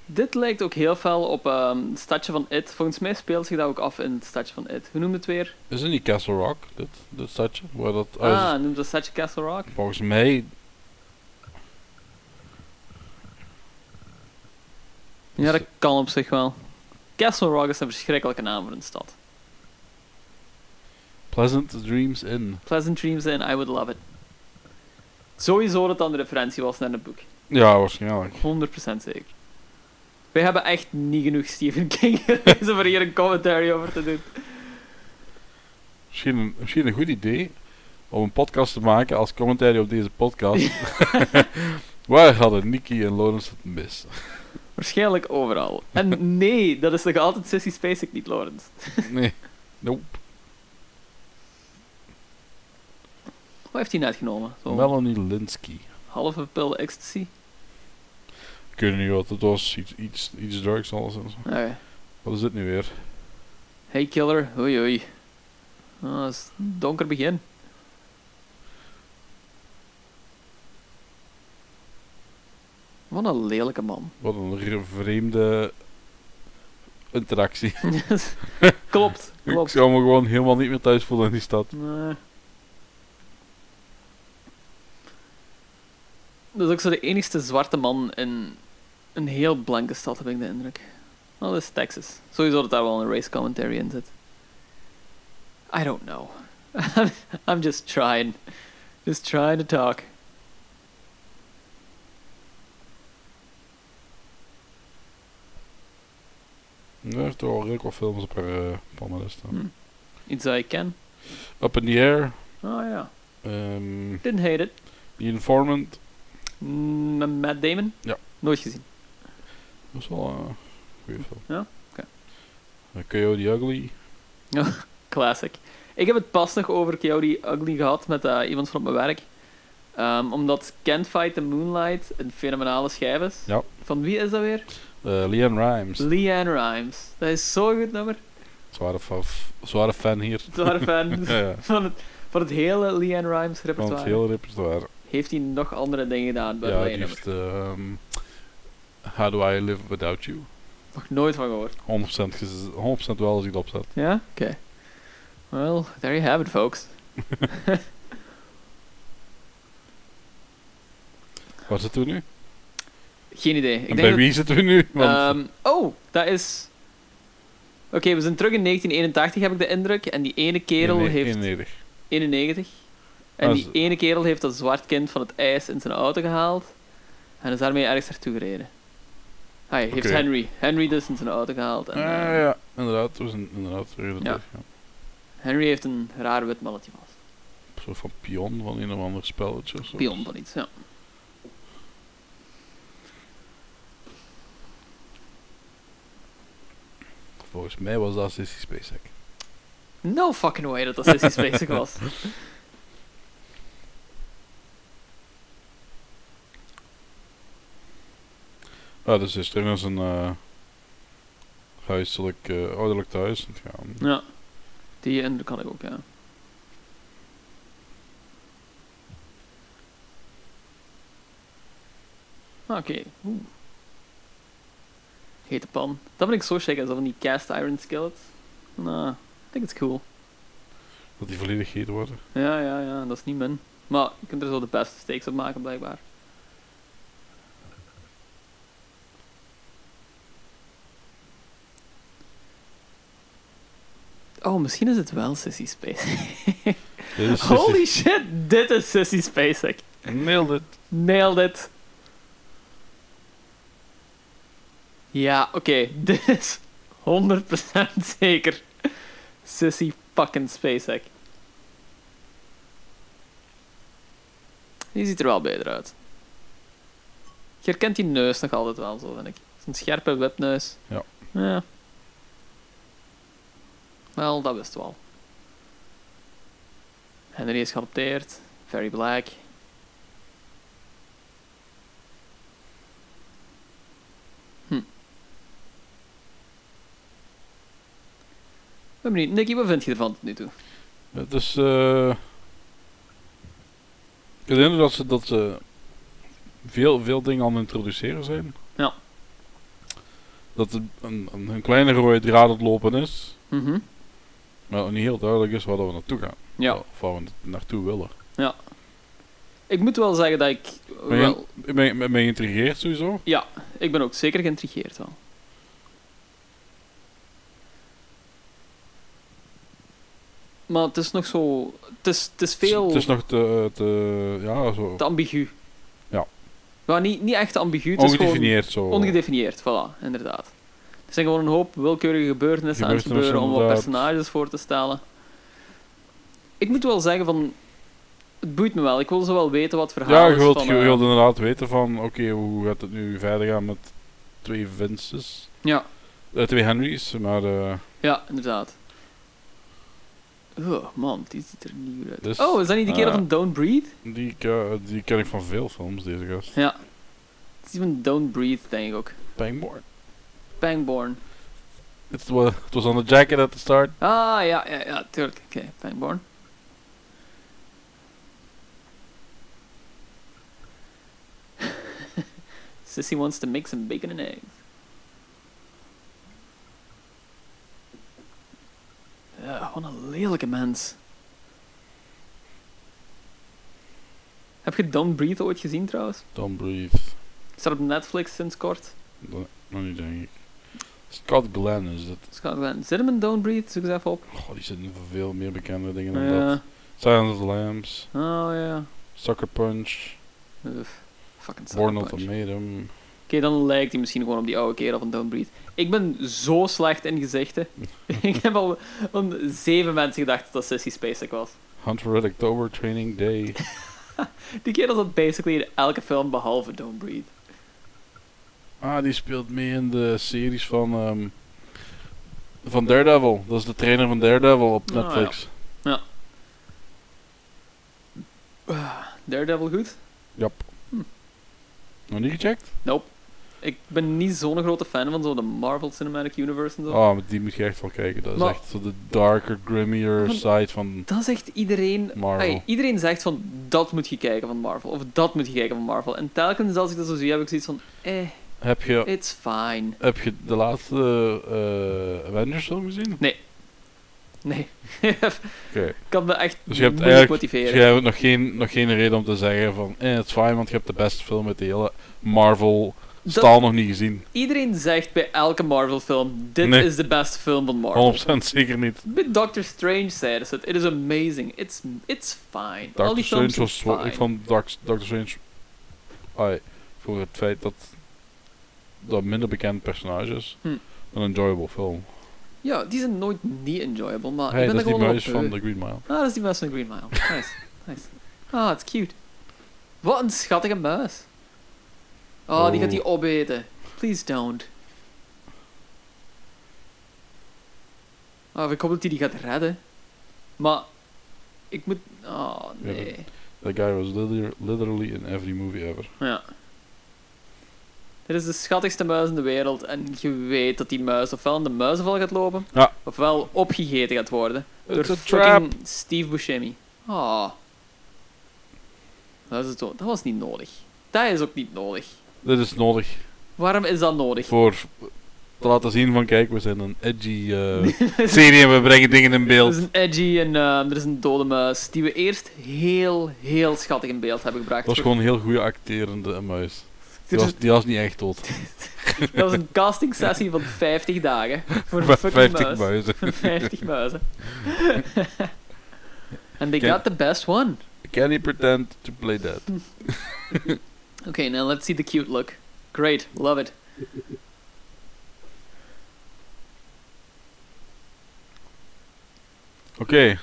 Speaker 5: Dit lijkt ook heel veel op ehm, het stadje van It. Volgens mij speelt zich dat ook af in het stadje van It. Hoe noemt het weer?
Speaker 7: Is het niet Castle Rock, dit, dit stadje? Waar dat... ah, is
Speaker 5: Ah, noemt dat stadje Castle Rock?
Speaker 7: het- volgens mij...
Speaker 5: Ja, dat kan op zich wel. Castle Rock is een verschrikkelijke naam voor een stad.
Speaker 7: Pleasant Dreams Inn.
Speaker 5: Pleasant Dreams in, I would love it. Sowieso dat dat een referentie was naar een boek.
Speaker 7: Ja, waarschijnlijk.
Speaker 5: 100% zeker. Wij hebben echt niet genoeg Stephen King gelezen voor hier een commentary over te doen.
Speaker 7: Misschien een, misschien een goed idee om een podcast te maken als commentaar op deze podcast. Waar hadden Nicky en Lawrence het mis?
Speaker 5: Waarschijnlijk overal. En nee, dat is nog altijd Sissy Spacek niet, Lawrence.
Speaker 7: Nee. Nope.
Speaker 5: Wat heeft hij net genomen? Zo'n
Speaker 7: Melanie Linsky.
Speaker 5: halve pil ecstasy?
Speaker 7: Kunnen niet wat het was. Iets, iets, iets drugs alles en zo.
Speaker 5: Oké.
Speaker 7: Wat is dit nu weer?
Speaker 5: Hey killer, oei oei. Ah, dat is een donker begin. Wat een lelijke man.
Speaker 7: Wat een re- vreemde interactie.
Speaker 5: klopt,
Speaker 7: Ik
Speaker 5: klopt.
Speaker 7: zou me gewoon helemaal niet meer thuis voelen in die stad.
Speaker 5: Nee. Dat is ook zo de enigste zwarte man in een heel blanke stad, heb ik de indruk. Wel, dat is Texas. Sowieso dat daar wel een race commentary in zit. I don't know. I'm just trying. Just trying to talk.
Speaker 7: Er heeft toch wel redelijk wat films op haar eh, palmarès staan.
Speaker 5: Hm. Iets dat ik ken.
Speaker 7: Up in the Air,
Speaker 5: Oh ja.
Speaker 7: ehm,
Speaker 5: Didn't hate it.
Speaker 7: The Informant.
Speaker 5: Mm, met Matt Damon?
Speaker 7: Ja.
Speaker 5: Nooit gezien.
Speaker 7: Dat is wel eh, een goede film.
Speaker 5: Ja? Oké.
Speaker 7: Eh, Coyote Ugly.
Speaker 5: Classic. Ik heb het pas nog over Coyote Ugly gehad met eh, iemand van op mijn werk. Ehm, omdat Can't Fight the Moonlight een fenomenale schijf is.
Speaker 7: Ja.
Speaker 5: Van wie is dat weer?
Speaker 7: Eh Leanne Rimes.
Speaker 5: Leanne Rimes. Dat is zo'n goed nummer.
Speaker 7: Zware, fa- f- zware fan hier.
Speaker 5: Zware fan
Speaker 7: Ja, ja.
Speaker 5: van, het, van het hele Leanne Rimes
Speaker 7: Van
Speaker 5: repertoire.
Speaker 7: het hele repertoire.
Speaker 5: Heeft hij nog andere dingen gedaan bij
Speaker 7: Ja,
Speaker 5: mijn
Speaker 7: die
Speaker 5: nummer?
Speaker 7: heeft ehm, How Do I Live Without You.
Speaker 5: Nog nooit van gehoord.
Speaker 7: 100%, gez- 100 wel als ik het opzet.
Speaker 5: Ja? Oké. Well, there you have it, folks.
Speaker 7: Waar zitten we nu?
Speaker 5: Geen idee. Ik
Speaker 7: en
Speaker 5: denk
Speaker 7: bij
Speaker 5: dat-
Speaker 7: wie zitten we nu? Want
Speaker 5: Ehm, oh, dat is. Oké, we zijn terug in 1981, heb ik de indruk. En die ene kerel
Speaker 7: Nee, nee,
Speaker 5: heeft.
Speaker 7: 91.
Speaker 5: 91. En
Speaker 7: Ah,
Speaker 5: die
Speaker 7: z-
Speaker 5: ene kerel heeft dat zwart kind van het ijs in zijn auto gehaald. En is daarmee ergens naartoe gereden. Hij heeft
Speaker 7: Oké.
Speaker 5: Henry. Henry dus in zijn auto gehaald. En,
Speaker 7: Ah,
Speaker 5: eh,
Speaker 7: ja, inderdaad. We zijn inderdaad weer
Speaker 5: Ja.
Speaker 7: terug. Ja.
Speaker 5: Henry heeft een raar wit malletje vast.
Speaker 7: Een soort van pion van een of ander spelletje. of zo.
Speaker 5: Pion van iets, ja.
Speaker 7: Volgens mij was dat Sissy Spacek.
Speaker 5: No fucking way dat dat Sissy Spacek was.
Speaker 7: Ah, dus ze is terug naar zijn eh, huiselijk, eh, ouderlijk thuis aan het gaan.
Speaker 5: Ja. Die indruk had ik ook, ja. Oké. oeh. Hete pan. Dat ben ik zo check, alsof van die cast iron skillet. Nou, ik denk het is cool.
Speaker 7: Dat die volledig heet worden.
Speaker 5: Ja, ja, ja, dat is niet min. Maar je kunt er zo de beste steaks op maken, blijkbaar. Oh, misschien is het wel Sissy Spacek.
Speaker 7: Dit is
Speaker 5: Holy shit, dit is Sissy Spacek.
Speaker 7: Nailed it.
Speaker 5: Nailed it. Ja, oké, dit is 100% zeker. Sissy fucking SpaceX. Die ziet er wel beter uit. Je herkent die neus nog altijd wel, zo vind ik. Zo'n scherpe wipneus.
Speaker 7: Ja.
Speaker 5: Ja. Wel, dat wist wel. Henry is geadopteerd. Very black. Ik ben benieuwd. Nicky, wat vind je ervan tot nu toe?
Speaker 7: Het is... eh, ik denk dat ze, dat ze veel, veel dingen aan het introduceren zijn.
Speaker 5: Ja.
Speaker 7: Dat het een, een, een kleine rode draad aan het lopen is.
Speaker 5: Mhm.
Speaker 7: Maar niet heel duidelijk is waar dat we naartoe gaan.
Speaker 5: Ja.
Speaker 7: Of waar we naartoe willen.
Speaker 5: Ik moet wel zeggen dat ik...
Speaker 7: je-
Speaker 5: Wel,
Speaker 7: Ik ben, ik ben geïntrigeerd sowieso.
Speaker 5: ik ben ook zeker geïntrigeerd wel. Maar het is nog zo... Het is, het is veel
Speaker 7: Het is nog te... te ja, zo...
Speaker 5: te ambigu.
Speaker 7: Ja.
Speaker 5: Maar niet, niet echt ambigu, het is gewoon
Speaker 7: ongedefinieerd zo.
Speaker 5: ongedefinieerd. Voilà, inderdaad. Er zijn gewoon een hoop willekeurige gebeurtenissen aan het
Speaker 7: Gebeurtenissen,
Speaker 5: gebeuren om wat
Speaker 7: inderdaad.
Speaker 5: personages voor te stellen. Ik moet wel zeggen van... Het boeit me wel. Ik wil zo wel weten wat het verhaal
Speaker 7: Ja, je
Speaker 5: is
Speaker 7: wilt,
Speaker 5: van...
Speaker 7: je
Speaker 5: eh,
Speaker 7: wilt inderdaad weten van, oké, hoe gaat het nu verder gaan met twee Vinces?
Speaker 5: Ja,
Speaker 7: Eh, twee Henry's, maar eh,
Speaker 5: ja, inderdaad. Oh man, die ziet er niet uit.
Speaker 7: Dus,
Speaker 5: oh, is dat niet die kerel
Speaker 7: ah.
Speaker 5: van Don't Breathe?
Speaker 7: die, ke- die ken ik van veel films, deze gast.
Speaker 5: Ja. Het is die van Don't Breathe, denk ik ook.
Speaker 7: Bangborn.
Speaker 5: Pangborn.
Speaker 7: Het was, het was on the jacket at the start.
Speaker 5: Ah, ja, ja, ja, tuurlijk. Oké, Pangborn. Sissy wants to make some bacon and eggs. Ja, wat een lelijke mens. Heb je Don't Breathe ooit gezien trouwens?
Speaker 7: Don't breathe.
Speaker 5: Staat op Netflix sinds kort.
Speaker 7: Dat- Nog niet, denk ik. Scott Glenn is het.
Speaker 5: Dus ik ga gewoon- Zit hem in Don't Breathe? Zoek eens even op.
Speaker 7: Goh, die zit in voor veel meer bekende dingen dan dat.
Speaker 5: Ja.
Speaker 7: Silence of the Lambs,
Speaker 5: Oh ja.
Speaker 7: Sucker Punch,
Speaker 5: Uf, fucking
Speaker 7: Born of
Speaker 5: Sucker Punch.
Speaker 7: the Maiden.
Speaker 5: dan lijkt hij misschien gewoon op die oude kerel van Don't Breathe. Ik ben zo slecht in gezichten. ik heb al aan zeven mensen gedacht dat dat Sissy Spacek was.
Speaker 7: Hunt for Red October Training Day.
Speaker 5: Die kerel zat basically in elke film behalve Don't Breathe.
Speaker 7: Ah, die speelt mee in de series van, ehm, van Daredevil. Dat is de trainer van Daredevil op
Speaker 5: Ah,
Speaker 7: Netflix.
Speaker 5: Daredevil goed?
Speaker 7: Jap.
Speaker 5: Hm.
Speaker 7: Nog niet gecheckt?
Speaker 5: Nope. Ik ben niet zo'n grote fan van zo de Marvel Cinematic Universe en zo.
Speaker 7: Ah, maar die moet je echt wel kijken. Dat is
Speaker 5: Maar-
Speaker 7: echt zo de darker, grimmier
Speaker 5: Maar-
Speaker 7: side van...
Speaker 5: Dat zegt iedereen.
Speaker 7: Marvel.
Speaker 5: Ai, iedereen zegt van dat moet je kijken van Marvel. Of dat moet je kijken van Marvel. En telkens als ik dat zo zie, heb ik zoiets van eh,
Speaker 7: Heb je,
Speaker 5: it's fine.
Speaker 7: heb je de laatste eh, Avengers film gezien? Oké.
Speaker 5: Nee. ik kan me echt
Speaker 7: Dus je hebt
Speaker 5: moeilijk
Speaker 7: eigenlijk dus
Speaker 5: motiveren.
Speaker 7: jij hebt nog geen, nog geen reden om te zeggen van... Eh, het is fijn, want je hebt de beste film uit de hele Marvel-staal nog niet gezien.
Speaker 5: Iedereen zegt bij elke Marvel film, dit
Speaker 7: Nee.
Speaker 5: is de beste film van Marvel.
Speaker 7: 100% zeker niet.
Speaker 5: Bij Doctor Strange zeiden ze het, it is amazing, it's, it's fine. Al
Speaker 7: Doctor
Speaker 5: die films
Speaker 7: Strange was...
Speaker 5: zijn
Speaker 7: wa-
Speaker 5: fine.
Speaker 7: Ik vond Doc- Doctor Strange... Ai, voor het feit dat... Dat minder bekend personage is.
Speaker 5: Hm.
Speaker 7: Een enjoyable film.
Speaker 5: Ja, die zijn nooit niet enjoyable, maar Ah,
Speaker 7: hey,
Speaker 5: ik ben er
Speaker 7: dat is die
Speaker 5: gewoon wel
Speaker 7: muis
Speaker 5: beu.
Speaker 7: van The Green Mile.
Speaker 5: Ah, dat is die muis van Green Mile. Nice. nice. Ah, het is cute. Wat een schattige muis. Ah, die gaat
Speaker 7: Oh.
Speaker 5: die opeten. Please don't. Ah, ik hoop dat hij die gaat redden. Maar, ik moet... Ah,
Speaker 7: Ja,
Speaker 5: nee.
Speaker 7: That guy was liter- literally in every movie ever.
Speaker 5: Ja. Dit is de schattigste muis in de wereld en je weet dat die muis ofwel in de muizenval gaat lopen,
Speaker 7: Ja.
Speaker 5: ofwel opgegeten gaat worden door
Speaker 7: It's a
Speaker 5: fucking Steve Buscemi. Ah. Dat, is het ook- dat was niet nodig. Dat is ook niet nodig.
Speaker 7: Dit is nodig
Speaker 5: Waarom is dat nodig?
Speaker 7: voor te laten zien van kijk, we zijn een edgy eh, serie en we brengen dingen in
Speaker 5: Er
Speaker 7: beeld.
Speaker 5: is een edgy en ehm, er is een dode muis die we eerst heel, heel schattig in beeld hebben gebracht.
Speaker 7: Het was gewoon een heel goede acterende muis. Die
Speaker 5: Dit is-
Speaker 7: was, die was niet echt dood.
Speaker 5: Dat was een casting sessie van 50 dagen voor een fucking
Speaker 7: 50
Speaker 5: muis.
Speaker 7: muizen.
Speaker 5: Van 50 muizen. And they
Speaker 7: Ken-
Speaker 5: got the best one.
Speaker 7: Can he pretend to play that?
Speaker 5: Okay, now let's see the cute look. Great, love it.
Speaker 7: Oké,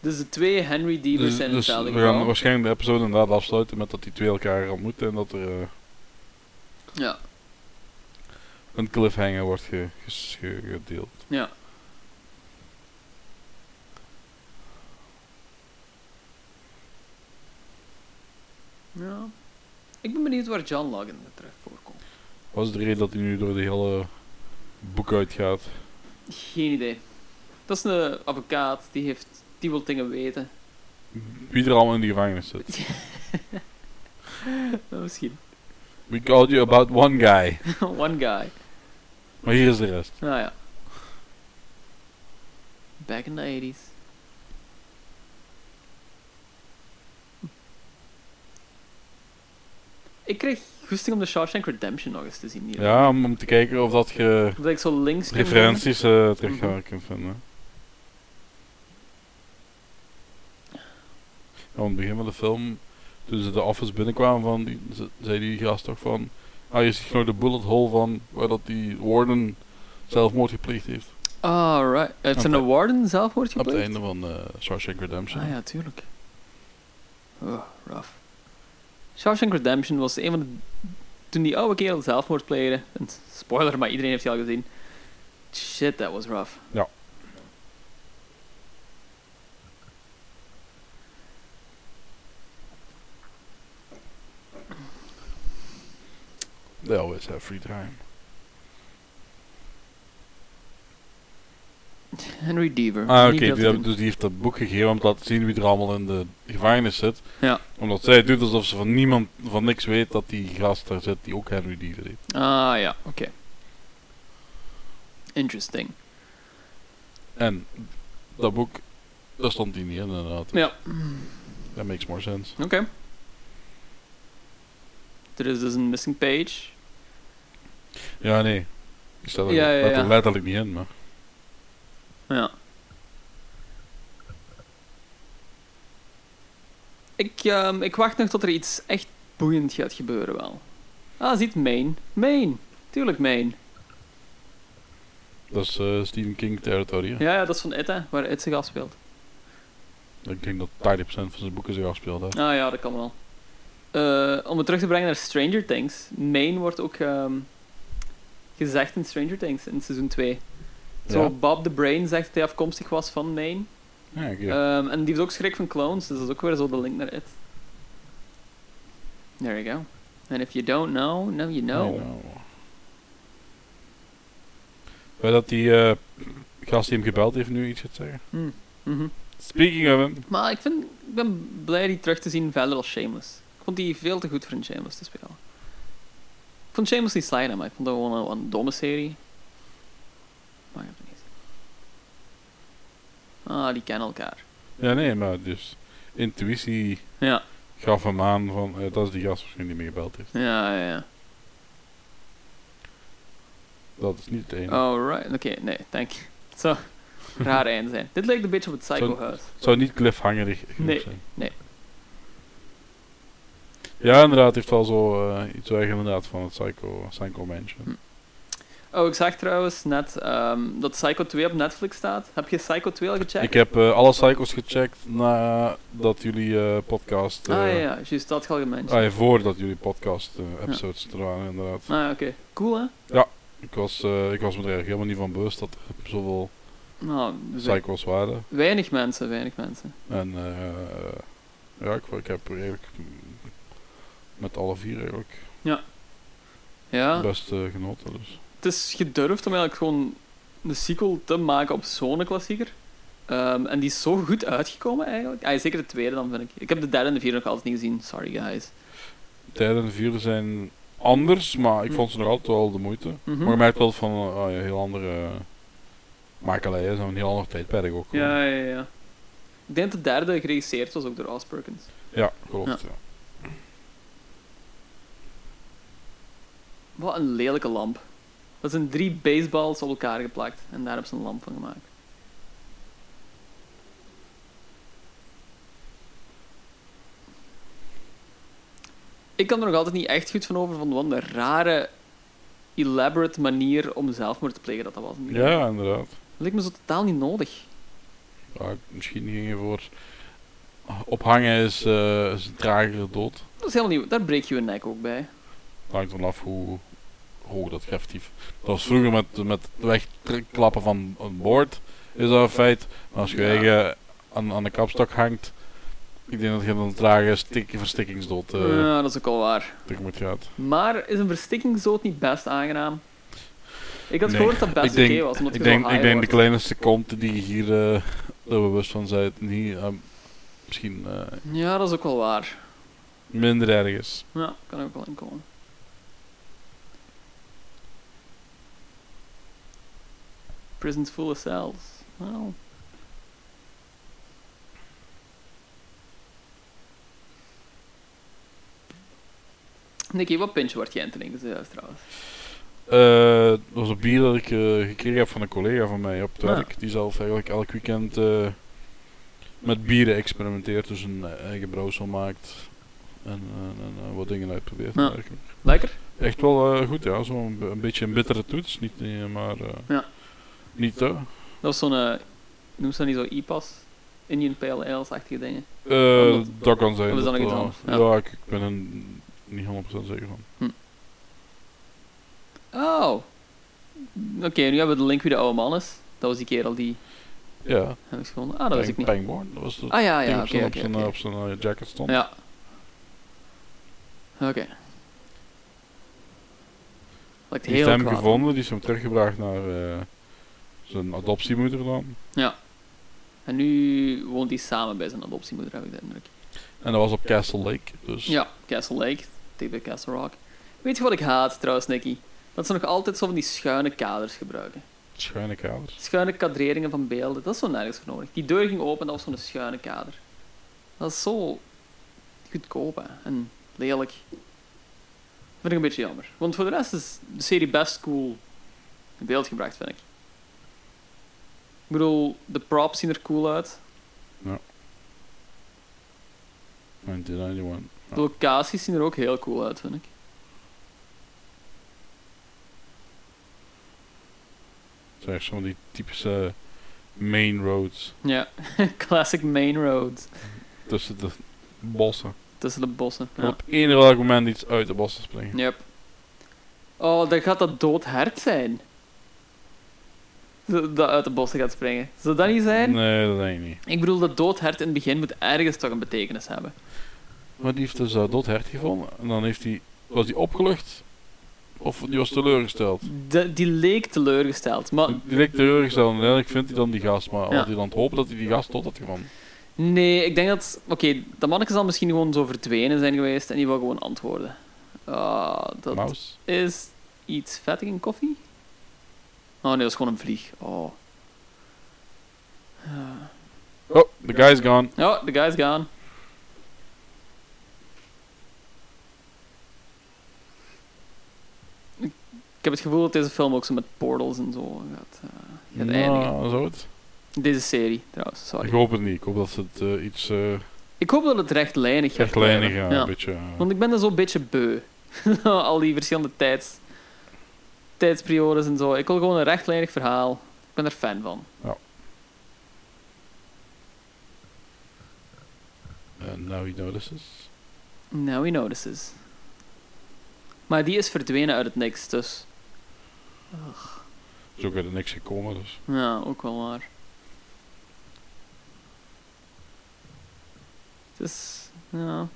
Speaker 5: Dus de twee Henry D.
Speaker 7: dus,
Speaker 5: en
Speaker 7: dus
Speaker 5: hetzelfde
Speaker 7: we gaan
Speaker 5: geval.
Speaker 7: waarschijnlijk de episode inderdaad afsluiten met dat die twee elkaar ontmoeten en dat er eh,
Speaker 5: Ja,
Speaker 7: een cliffhanger wordt ge- ges- ge- gedeeld.
Speaker 5: ja. Ja. Ik ben benieuwd waar John Logan terecht voorkomt.
Speaker 7: Wat is de reden dat hij nu door de hele boek uitgaat?
Speaker 5: Geen idee. Dat is een advocaat, die, heeft, die wil dingen weten.
Speaker 7: Wie er allemaal in de gevangenis zit.
Speaker 5: Nou, Misschien.
Speaker 7: We called you about one guy.
Speaker 5: One guy.
Speaker 7: Maar hier is de rest.
Speaker 5: Nou ja. Back in the 80s. Ik kreeg goesting om de Shawshank Redemption nog eens te zien hier.
Speaker 7: Ja, om, om te kijken of dat je
Speaker 5: Omdat ik zo links kan
Speaker 7: referenties eh,
Speaker 5: Mhm.
Speaker 7: terug eh, kunt vinden. Ja, aan het begin van de film, toen ze de office binnenkwamen, van die, ze- zei die gast toch van... Ah, je ziet nog de bullet hole van waar dat die warden zelfmoord gepleegd heeft.
Speaker 5: doen. Ah, Alright. Heeft
Speaker 7: Op
Speaker 5: een
Speaker 7: het-
Speaker 5: warden zelf wordt
Speaker 7: Op het
Speaker 5: gepleegd?
Speaker 7: einde van eh Shawshank Redemption.
Speaker 5: Ah ja, tuurlijk. Oh, rough. Shawshank Redemption was een van de... Toen die oude kerel zelfmoord pleegde... en Spoiler, maar iedereen heeft die al gezien. Shit, that was rough.
Speaker 7: Ja. They always have free time.
Speaker 5: Henry Deaver.
Speaker 7: Ah,
Speaker 5: Niet
Speaker 7: oké.
Speaker 5: veel te
Speaker 7: die hebben-
Speaker 5: doen.
Speaker 7: Dus die heeft dat boek gegeven om te laten zien wie er allemaal in de gevangenis zit.
Speaker 5: Ja.
Speaker 7: Omdat zij doet alsof ze van niemand, van niks weet dat die gast daar zit die ook Henry Deaver heet.
Speaker 5: Ah ja, oké. Interesting.
Speaker 7: En dat boek, daar stond hij niet in inderdaad.
Speaker 5: Ja.
Speaker 7: That makes more sense.
Speaker 5: Oké. Er is dus een missing page.
Speaker 7: Ja, nee. Ik sta er
Speaker 5: Ja, ja,
Speaker 7: letter-
Speaker 5: ja.
Speaker 7: letterlijk niet in, maar...
Speaker 5: Ja. Ik, ehm, ik wacht nog tot er iets echt boeiend gaat gebeuren wel. Ah, ziet Maine. Maine. Tuurlijk Maine.
Speaker 7: Dat is eh, Stephen King territory. hè?
Speaker 5: Ja, ja, dat is van It, hè, waar It zich afspeelt.
Speaker 7: Ik denk dat 80% van zijn boeken zich afspeelt. Hè.
Speaker 5: Ah ja, dat kan wel. Eh, om het terug te brengen naar Stranger Things. Maine wordt ook ehm, gezegd in Stranger Things in seizoen 2. Zo,
Speaker 7: Ja.
Speaker 5: Bob the Brain zegt dat hij afkomstig was van Maine.
Speaker 7: Ja, oké.
Speaker 5: Ehm, en die heeft ook schrik van clones, dus dat is ook weer zo de link naar It. There you go. And if you don't know, now you know.
Speaker 7: Nee, nou. Weet dat die eh, gast die hem gebeld heeft nu iets gaat zeggen?
Speaker 5: Mhm.
Speaker 7: Speaking of hem.
Speaker 5: Maar ik, vind, ik ben blij die terug te zien verder als Shameless. Ik vond die veel te goed voor een Shameless te spelen. Ik vond Shameless niet slecht, hè, maar ik vond dat gewoon een, een domme serie. Maar ik heb het niet. Ah, die kennen elkaar.
Speaker 7: Ja, nee, maar dus. Intuïtie
Speaker 5: Ja,
Speaker 7: gaf hem aan van. eh, dat is die gast waarschijnlijk die me gebeld heeft.
Speaker 5: ja, ja. ja.
Speaker 7: Dat is niet het
Speaker 5: Oh.
Speaker 7: enige.
Speaker 5: Alright, oké, nee, thank you. Het zou een raar eind zijn. Dit lijkt een beetje op het Psycho
Speaker 7: Zo'n-
Speaker 5: House.
Speaker 7: Het zou niet cliffhangerig genoeg
Speaker 5: Nee,
Speaker 7: zijn.
Speaker 5: nee.
Speaker 7: Ja, inderdaad, heeft al zo eh, iets weg inderdaad van het Psycho, Psycho Mansion.
Speaker 5: Hm. Oh, ik zag trouwens net ehm, dat Psycho 2 op Netflix staat. Heb je Psycho 2 al gecheckt?
Speaker 7: Ik heb eh, alle Psychos gecheckt nadat jullie eh, podcast... eh,
Speaker 5: Ah ja, ja, juist dat had ik al gemend.
Speaker 7: ah, ja, voordat jullie podcast eh, episodes er waren, inderdaad.
Speaker 5: Ah, oké. Cool, hè?
Speaker 7: Ik was, eh, ik was me er eigenlijk helemaal niet van bewust dat er zoveel
Speaker 5: Nou, we-
Speaker 7: Psychos waren.
Speaker 5: weinig mensen, weinig mensen.
Speaker 7: En eh, ja, ik, ik heb er eigenlijk mm, met alle vier eigenlijk
Speaker 5: Ja,
Speaker 7: best eh, genoten. Dus.
Speaker 5: het is gedurfd om eigenlijk gewoon een sequel te maken op zo'n klassieker. Ehm, en die is zo goed uitgekomen eigenlijk. Ah, zeker de tweede dan, vind ik. Ik heb de derde en de vierde nog altijd niet gezien. Sorry, guys.
Speaker 7: De derde en de vierde zijn anders, maar ik
Speaker 5: Hm.
Speaker 7: vond ze nog altijd wel de moeite.
Speaker 5: Mhm.
Speaker 7: Maar je merkt wel van eh, ah, ja, heel andere uh, makelij, zo'n heel ander tijdperk ook.
Speaker 5: Ja, ja, ja. Ik denk dat de derde geregisseerd was ook door Ross Perkins.
Speaker 7: Ja, klopt. Ja.
Speaker 5: Wat een lelijke lamp. Dat zijn drie baseballs op elkaar geplakt en daar hebben ze een lamp van gemaakt. Ik kan er nog altijd niet echt goed van over van wat een rare, elaborate manier om zelfmoord te plegen dat dat was.
Speaker 7: Ja. inderdaad.
Speaker 5: Dat lijkt me zo totaal niet nodig.
Speaker 7: Ja, misschien ging je voor ophangen is, eh, is een tragere dood.
Speaker 5: Dat is helemaal niet, daar breek je je nek ook bij.
Speaker 7: hangt ervan af hoe hoog dat grefftief. Dat was vroeger met, met het wegklappen van een boord, is dat een feit. Maar als je
Speaker 5: Ja.
Speaker 7: eigen aan, aan de kapstok hangt, ik denk dat je dan een trage stik, verstikkingsdood eh,
Speaker 5: Ja, dat is ook al waar.
Speaker 7: tegemoet gaat.
Speaker 5: Maar is een verstikkingsdood niet best aangenaam? Ik had
Speaker 7: Nee,
Speaker 5: gehoord dat het best
Speaker 7: ik
Speaker 5: oké
Speaker 7: denk-
Speaker 5: was, omdat je
Speaker 7: Ik
Speaker 5: zo
Speaker 7: denk,
Speaker 5: high
Speaker 7: ik denk de
Speaker 5: wordt.
Speaker 7: kleine seconde die je hier eh er bewust van bent, niet, eh, misschien eh,
Speaker 5: Ja, dat is ook wel waar.
Speaker 7: minder erg is.
Speaker 5: Ja, kan er ook wel in komen. Prisons full of cells. Well. Nicky, wat pintje wordt jij aan het drinken zojuist trouwens?
Speaker 7: Eh, dat was een bier dat ik eh, gekregen heb van een collega van mij op het
Speaker 5: Ah.
Speaker 7: werk. Die zelf eigenlijk elk weekend eh, met bieren experimenteert. Dus een eigen brouwsel maakt. En, eh, en, eh, wat dingen uitprobeert.
Speaker 5: Ja.
Speaker 7: eigenlijk.
Speaker 5: Lekker?
Speaker 7: Echt wel eh, goed, ja. Zo'n b- een beetje een bittere toets. Niet, eh, maar eh,
Speaker 5: Ja.
Speaker 7: niet te.
Speaker 5: Dat was zo'n, eh, noem ze dat niet zo IPAS? Indian Pale Ales-achtige dingen.
Speaker 7: Eh,
Speaker 5: Omdat-
Speaker 7: dat kan zijn.
Speaker 5: Of is dat nog iets
Speaker 7: wel-
Speaker 5: anders? Ja.
Speaker 7: Ja, ik, ik ben er niet 100% zeker van.
Speaker 5: Oh. Oké, nu hebben we de link wie de oude man is. Dat was die kerel die...
Speaker 7: Ja,
Speaker 5: Heb ik ze gevonden? Ah, dat wist ik niet.
Speaker 7: Pangborn. Dat was de
Speaker 5: Ah ja,
Speaker 7: ding
Speaker 5: ja,
Speaker 7: op
Speaker 5: oké,
Speaker 7: zijn- op
Speaker 5: oké,
Speaker 7: zijn, eh,
Speaker 5: oké.
Speaker 7: op zijn eh, jacket stond.
Speaker 5: Ja. Oké. Lijkt
Speaker 7: Die heeft
Speaker 5: heel
Speaker 7: hem
Speaker 5: kwaad.
Speaker 7: gevonden, die is hem teruggebracht naar eh, zijn adoptiemoeder dan.
Speaker 5: En nu woont hij samen bij zijn adoptiemoeder, heb ik de indruk.
Speaker 7: En dat was op Castle Lake, dus...
Speaker 5: Ja, Castle Lake, tegen bij Castle Rock. Weet je wat ik haat trouwens, Nicky? Dat ze nog altijd zo van die schuine kaders gebruiken.
Speaker 7: Schuine kaders.
Speaker 5: Schuine kadreringen van beelden, dat is zo nergens voor nodig. Die deur ging open en dat was zo'n schuine kader. Dat is zo goedkoop hè, en lelijk. Dat vind ik een beetje jammer. Want voor de rest is de serie best cool in beeld gebracht, vind ik. Ik bedoel, de props zien er cool uit.
Speaker 7: 1991.
Speaker 5: De locaties zien er ook heel cool uit, vind ik.
Speaker 7: zijn echt zo'n die typische main roads
Speaker 5: Ja, classic main road.
Speaker 7: tussen de bossen.
Speaker 5: Tussen de bossen.
Speaker 7: Kan
Speaker 5: Ja.
Speaker 7: Op eender welk moment iets uit de bossen springen.
Speaker 5: Yep. Oh, dan gaat dat doodhard zijn. Dat dat uit de bossen gaat springen. Zou dat niet zijn?
Speaker 7: Nee, dat denk ik niet.
Speaker 5: Ik bedoel, dat doodhert in het begin moet ergens toch een betekenis hebben.
Speaker 7: Maar die heeft dus dat dood hert gevonden. En dan heeft hij was hij opgelucht? Of die was teleurgesteld?
Speaker 5: De- die leek teleurgesteld, maar
Speaker 7: Die leek teleurgesteld. En uiteindelijk vindt hij dan die gast. Maar
Speaker 5: Ja.
Speaker 7: had hij dan het hopen dat hij die gast tot had gevonden?
Speaker 5: nee, ik denk dat... Oké, dat manneke zal misschien gewoon zo verdwenen zijn geweest en die wil gewoon antwoorden. Ah, dat
Speaker 7: Maus?
Speaker 5: is iets vettig in koffie? Oh nee, dat is gewoon een vlieg. Oh,
Speaker 7: Oh, the guy's gone.
Speaker 5: oh the guy's gone. Ik ik heb het gevoel dat deze film ook zo met portals en zo gaat, eh, gaat eindigen.
Speaker 7: Nou, zo het.
Speaker 5: Deze serie, trouwens, sorry.
Speaker 7: Ik hoop het niet. Ik hoop dat ze het eh, iets eh
Speaker 5: Ik hoop dat het rechtlijnig gaat
Speaker 7: rechtlijnig
Speaker 5: blijven.
Speaker 7: gaan. Een beetje. eh,
Speaker 5: Want ik ben er zo'n beetje beu. Al die verschillende tijds, tijdsperiodes en zo. Ik wil gewoon een rechtlijnig verhaal. Ik ben er fan van.
Speaker 7: eh, now he notices.
Speaker 5: Now he notices. Maar die is verdwenen uit het niks, dus...
Speaker 7: Is ook uit niks gekomen. Dus.
Speaker 5: Ja, ook wel waar. Het is... Ja...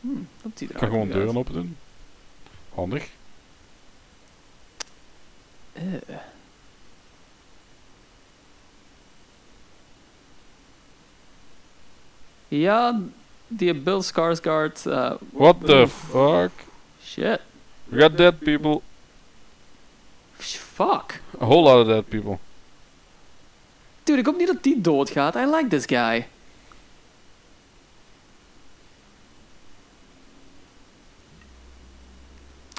Speaker 5: Hm, dat ziet er
Speaker 7: Ik kan
Speaker 5: aardig
Speaker 7: gewoon
Speaker 5: uit.
Speaker 7: deuren open doen. Handig.
Speaker 5: Eh. Ja, die Bill Skarsgård. eh,
Speaker 7: What the fuck?
Speaker 5: shit.
Speaker 7: We got dead people.
Speaker 5: Fuck.
Speaker 7: A whole lot of dead people.
Speaker 5: Dude, ik hoop niet dat die doodgaat. I like this guy.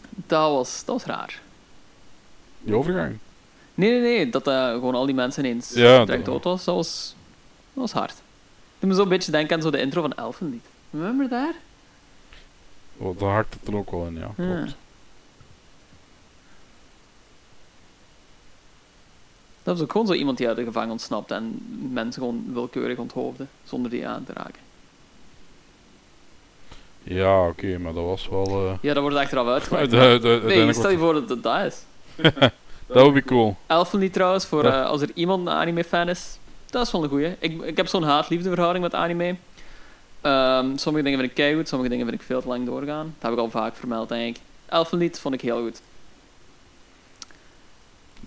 Speaker 5: Dat was, dat was raar.
Speaker 7: Die overgang.
Speaker 5: Nee, nee, nee. Dat eh, gewoon al die mensen ineens
Speaker 7: Ja,
Speaker 5: direct
Speaker 7: dat-
Speaker 5: dood was, dat was, dat was hard. Doe me zo'n beetje denken aan zo de intro van Elfenlied. Remember daar?
Speaker 7: Oh, daar hakt het er ook wel in, ja.
Speaker 5: Ja.
Speaker 7: Klopt.
Speaker 5: Dat was ook gewoon zo iemand die uit de gevangen ontsnapt en mensen gewoon willekeurig onthoofde, zonder die aan te raken.
Speaker 7: Ja, oké, maar dat was wel... eh,
Speaker 5: Ja, dat wordt achteraf
Speaker 7: uit-
Speaker 5: uitgelegd.
Speaker 7: uit- uit-
Speaker 5: Nee,
Speaker 7: uiteindelijk
Speaker 5: stel je
Speaker 7: wordt-
Speaker 5: voor dat het dat is.
Speaker 7: Dat would be cool.
Speaker 5: Elfenlied trouwens, voor,
Speaker 7: Ja.
Speaker 5: eh, als er iemand een anime-fan is, dat is wel een goeie. Ik, ik heb zo'n haat-liefde verhouding met anime. Ehm, sommige dingen vind ik keigoed, sommige dingen vind ik veel te lang doorgaan. Dat heb ik al vaak vermeld, eigenlijk. Elfenlied vond ik heel goed.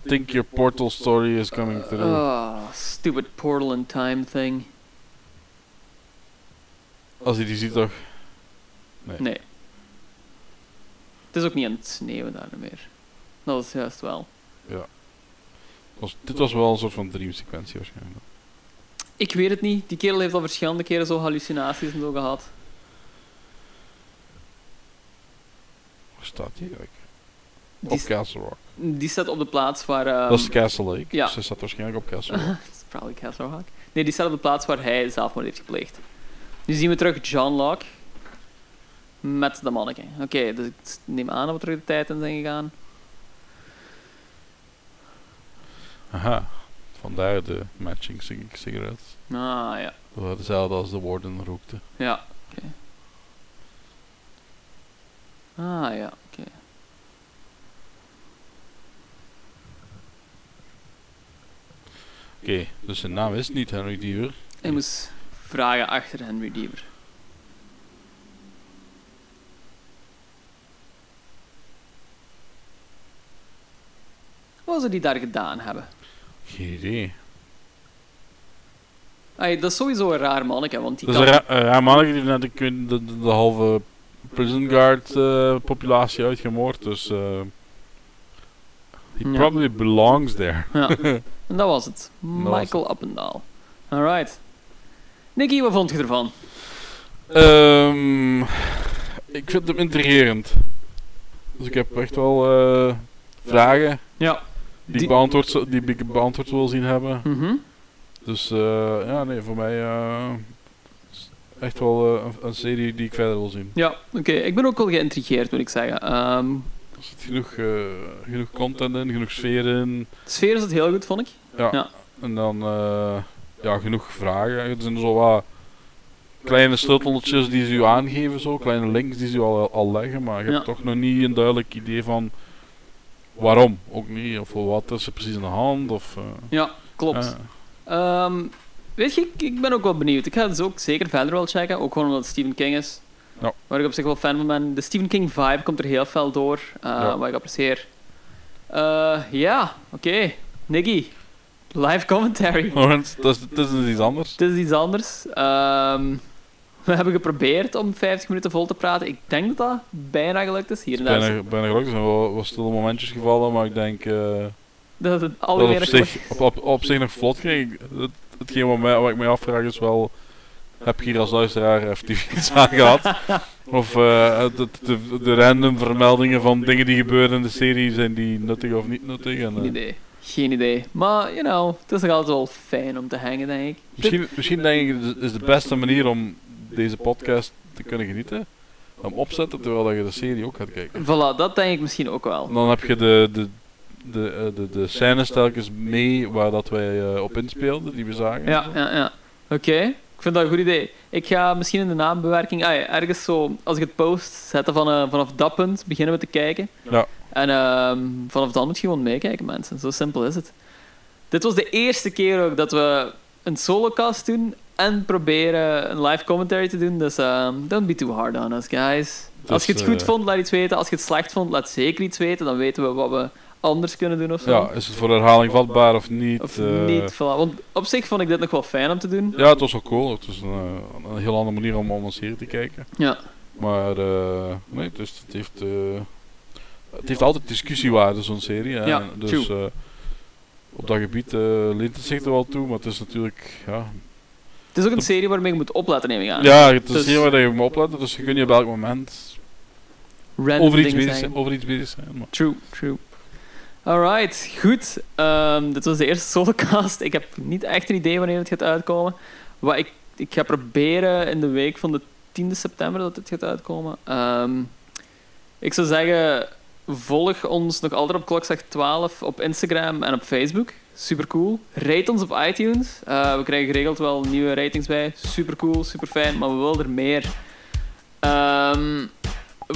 Speaker 7: Think your portal story is coming through.
Speaker 5: Oh, stupid portal in time thing.
Speaker 7: Als hij die ziet, toch?
Speaker 5: Nee. Het is ook niet aan het sneeuwen daar meer. Dat is juist wel.
Speaker 7: Was- dit was wel een soort van dreamsequentie waarschijnlijk.
Speaker 5: Ik weet het niet. Die kerel heeft al verschillende keren zo hallucinaties en zo gehad.
Speaker 7: Waar staat die eigenlijk?
Speaker 5: Die,
Speaker 7: Op
Speaker 5: s-
Speaker 7: Castle Rock.
Speaker 5: die staat op de plaats waar... ehm,
Speaker 7: dat is Castle Lake.
Speaker 5: ja.
Speaker 7: Dus hij staat waarschijnlijk op Castle Rock.
Speaker 5: dat is probably Castle Rock. Nee, die staat op de plaats waar hij zelfmoord heeft gepleegd. Nu zien we terug John Locke. Met de manneke. Oké, dus ik s- neem aan dat we terug de tijd in zijn gegaan.
Speaker 7: Aha. Vandaar de matching cig- cigarettes.
Speaker 5: Ah, ja.
Speaker 7: Dat waren Dezelfde als de Warden rookte.
Speaker 5: Ja, oké. Ah ja, oké.
Speaker 7: Oké, dus zijn naam is niet Henry Diever.
Speaker 5: Ik moest vragen achter Henry Diever. Wat zou die daar gedaan hebben?
Speaker 7: Geen idee.
Speaker 5: Ai, dat is sowieso een raar manneke, want die
Speaker 7: Dat is
Speaker 5: kan...
Speaker 7: een ra- een raar mannetje die net de, de, de, de halve prison guard eh, populatie uitgemoord. Dus eh he
Speaker 5: Ja.
Speaker 7: probably belongs there.
Speaker 5: Ja. en dat was het.
Speaker 7: was
Speaker 5: Michael Appendaal. Alright. Nicky, wat vond je ervan?
Speaker 7: Ehm, ik vind hem intrigerend. Dus ik heb echt wel eh, vragen
Speaker 5: Ja.
Speaker 7: die,
Speaker 5: Die-
Speaker 7: ik beantwoord, zou- die ik beantwoord wil zien hebben.
Speaker 5: Mhm.
Speaker 7: Dus eh, ja, nee, voor mij eh, is echt wel eh, een, een serie die ik verder wil zien.
Speaker 5: Ja, oké. Ik ben ook wel geïntrigeerd, moet ik zeggen. Ehm,
Speaker 7: Er zit genoeg, eh, genoeg content in, genoeg sfeer in.
Speaker 5: De sfeer is het heel goed, vond ik.
Speaker 7: Ja.
Speaker 5: Ja.
Speaker 7: En dan eh, ja, genoeg vragen. Er zijn zo wat kleine sleuteltjes die ze u aangeven, zo, kleine links die ze u al, al leggen, maar je hebt
Speaker 5: Ja.
Speaker 7: toch nog niet een duidelijk idee van waarom. Ook niet, of voor wat is er precies aan de hand. Of, eh,
Speaker 5: Ja, klopt.
Speaker 7: eh,
Speaker 5: Ehm, weet je, ik, ik ben ook wel benieuwd. Ik ga het dus ook zeker verder wel checken, ook gewoon omdat het Stephen King is.
Speaker 7: Ja.
Speaker 5: Waar ik op zich wel fan van ben. De Stephen King vibe komt er heel fel door, eh,
Speaker 7: Ja.
Speaker 5: wat ik apprecieer. Eh, ja, oké. Nicky, live commentary.
Speaker 7: Lawrence, dat is, dat is iets anders.
Speaker 5: Het is iets anders. Ehm, we hebben geprobeerd om 50 minuten vol te praten. Ik denk dat dat bijna gelukt is. Hier en daar.
Speaker 7: Bijna, bijna gelukkig zijn wel wat stille momentjes gevallen, maar ik denk eh,
Speaker 5: Dat het
Speaker 7: dat het
Speaker 5: alweer
Speaker 7: op zich, op, op, op zich nog vlot ging. Het, hetgeen wat mij, waar ik mij afvraag is wel, heb ik hier als luisteraar effectief iets aan gehad? Of eh, het- het- de, de random vermeldingen van dingen die gebeuren in de serie, zijn die nuttig of niet nuttig? En, eh,
Speaker 5: Geen idee. Geen idee. Maar, you know, het is nog altijd wel fijn om te hangen, denk ik.
Speaker 7: misschien, misschien denk ik, het is de beste manier om deze podcast te kunnen genieten. Om opzetten terwijl dat je de serie ook gaat kijken.
Speaker 5: Voilà, dat denk ik misschien ook wel.
Speaker 7: En dan heb je de, de, de, eh, de, de scènes telkens mee waar dat wij eh, op inspeelden, die we zagen.
Speaker 5: Ja, ja, ja. Oké, ik vind dat een goed idee. Ik ga misschien in de naambewerking, ah ja, ergens zo, als ik het post, zetten van, eh, vanaf dat punt beginnen we te kijken.
Speaker 7: Ja.
Speaker 5: En ehm, vanaf dan moet je gewoon meekijken, mensen. Zo simpel is het. Dit was de eerste keer ook dat we een solocast doen en proberen een live commentary te doen. Dus ehm, don't be too hard on us, guys. als je het
Speaker 7: eh,
Speaker 5: goed vond, laat iets weten. Als je het slecht vond, laat zeker iets weten. Dan weten we wat we anders kunnen doen of zo.
Speaker 7: Ja, is het voor herhaling vatbaar of niet?
Speaker 5: Of
Speaker 7: eh,
Speaker 5: niet, voilà. Want op zich vond ik dit nog wel fijn om te doen.
Speaker 7: Ja, het was wel cool. Het is een, eh, een heel andere manier om, om een serie te kijken.
Speaker 5: Ja.
Speaker 7: Maar eh, nee, dus het heeft, eh, het heeft altijd discussiewaarde, zo'n serie. hè.
Speaker 5: Ja,
Speaker 7: dus eh, op dat gebied eh, leent het zich er wel toe, maar het is natuurlijk... Ja,
Speaker 5: Het is ook een serie waarmee je moet opletten, neem ik aan.
Speaker 7: ja het is
Speaker 5: dus-
Speaker 7: hier waar je moet opletten, dus je kunt je op elk moment
Speaker 5: Random
Speaker 7: over iets,
Speaker 5: dingen
Speaker 7: bezig
Speaker 5: zeggen.
Speaker 7: zijn, over iets bezig zijn. Maar.
Speaker 5: True, true. Alright, goed. Ehm, dit was de eerste solocast. Ik heb niet echt een idee wanneer het gaat uitkomen. Wat ik, ik ga proberen in de week van de 10e september dat het gaat uitkomen. Ehm, ik zou zeggen, volg ons nog altijd op klokslag 12 op Instagram en op Facebook. Super cool. Rate ons op iTunes. Eh, we krijgen geregeld wel nieuwe ratings bij. Super cool, super fijn, maar we willen er meer. Ehm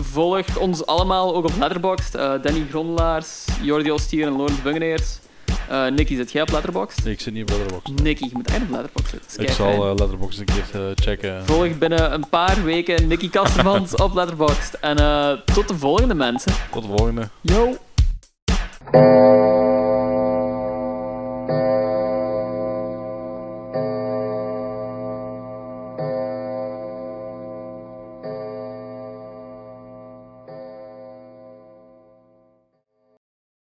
Speaker 5: volg ons allemaal ook op Letterboxd. Eh, Danny Grondelaars, Jordi Ostier en Lorenz Bungeneers. Eh Nicky, zit jij op Letterboxd?
Speaker 7: Nee, ik zit niet op Letterboxd.
Speaker 5: Nicky, je moet echt op Letterboxd zitten. Dat is
Speaker 7: Ik zal
Speaker 5: keifijn.
Speaker 7: eh, Letterboxd een keer eh, checken.
Speaker 5: Volg binnen een paar weken Nicky Kastemans op Letterboxd. En eh, tot de volgende mensen.
Speaker 7: Tot de volgende.
Speaker 5: Yo!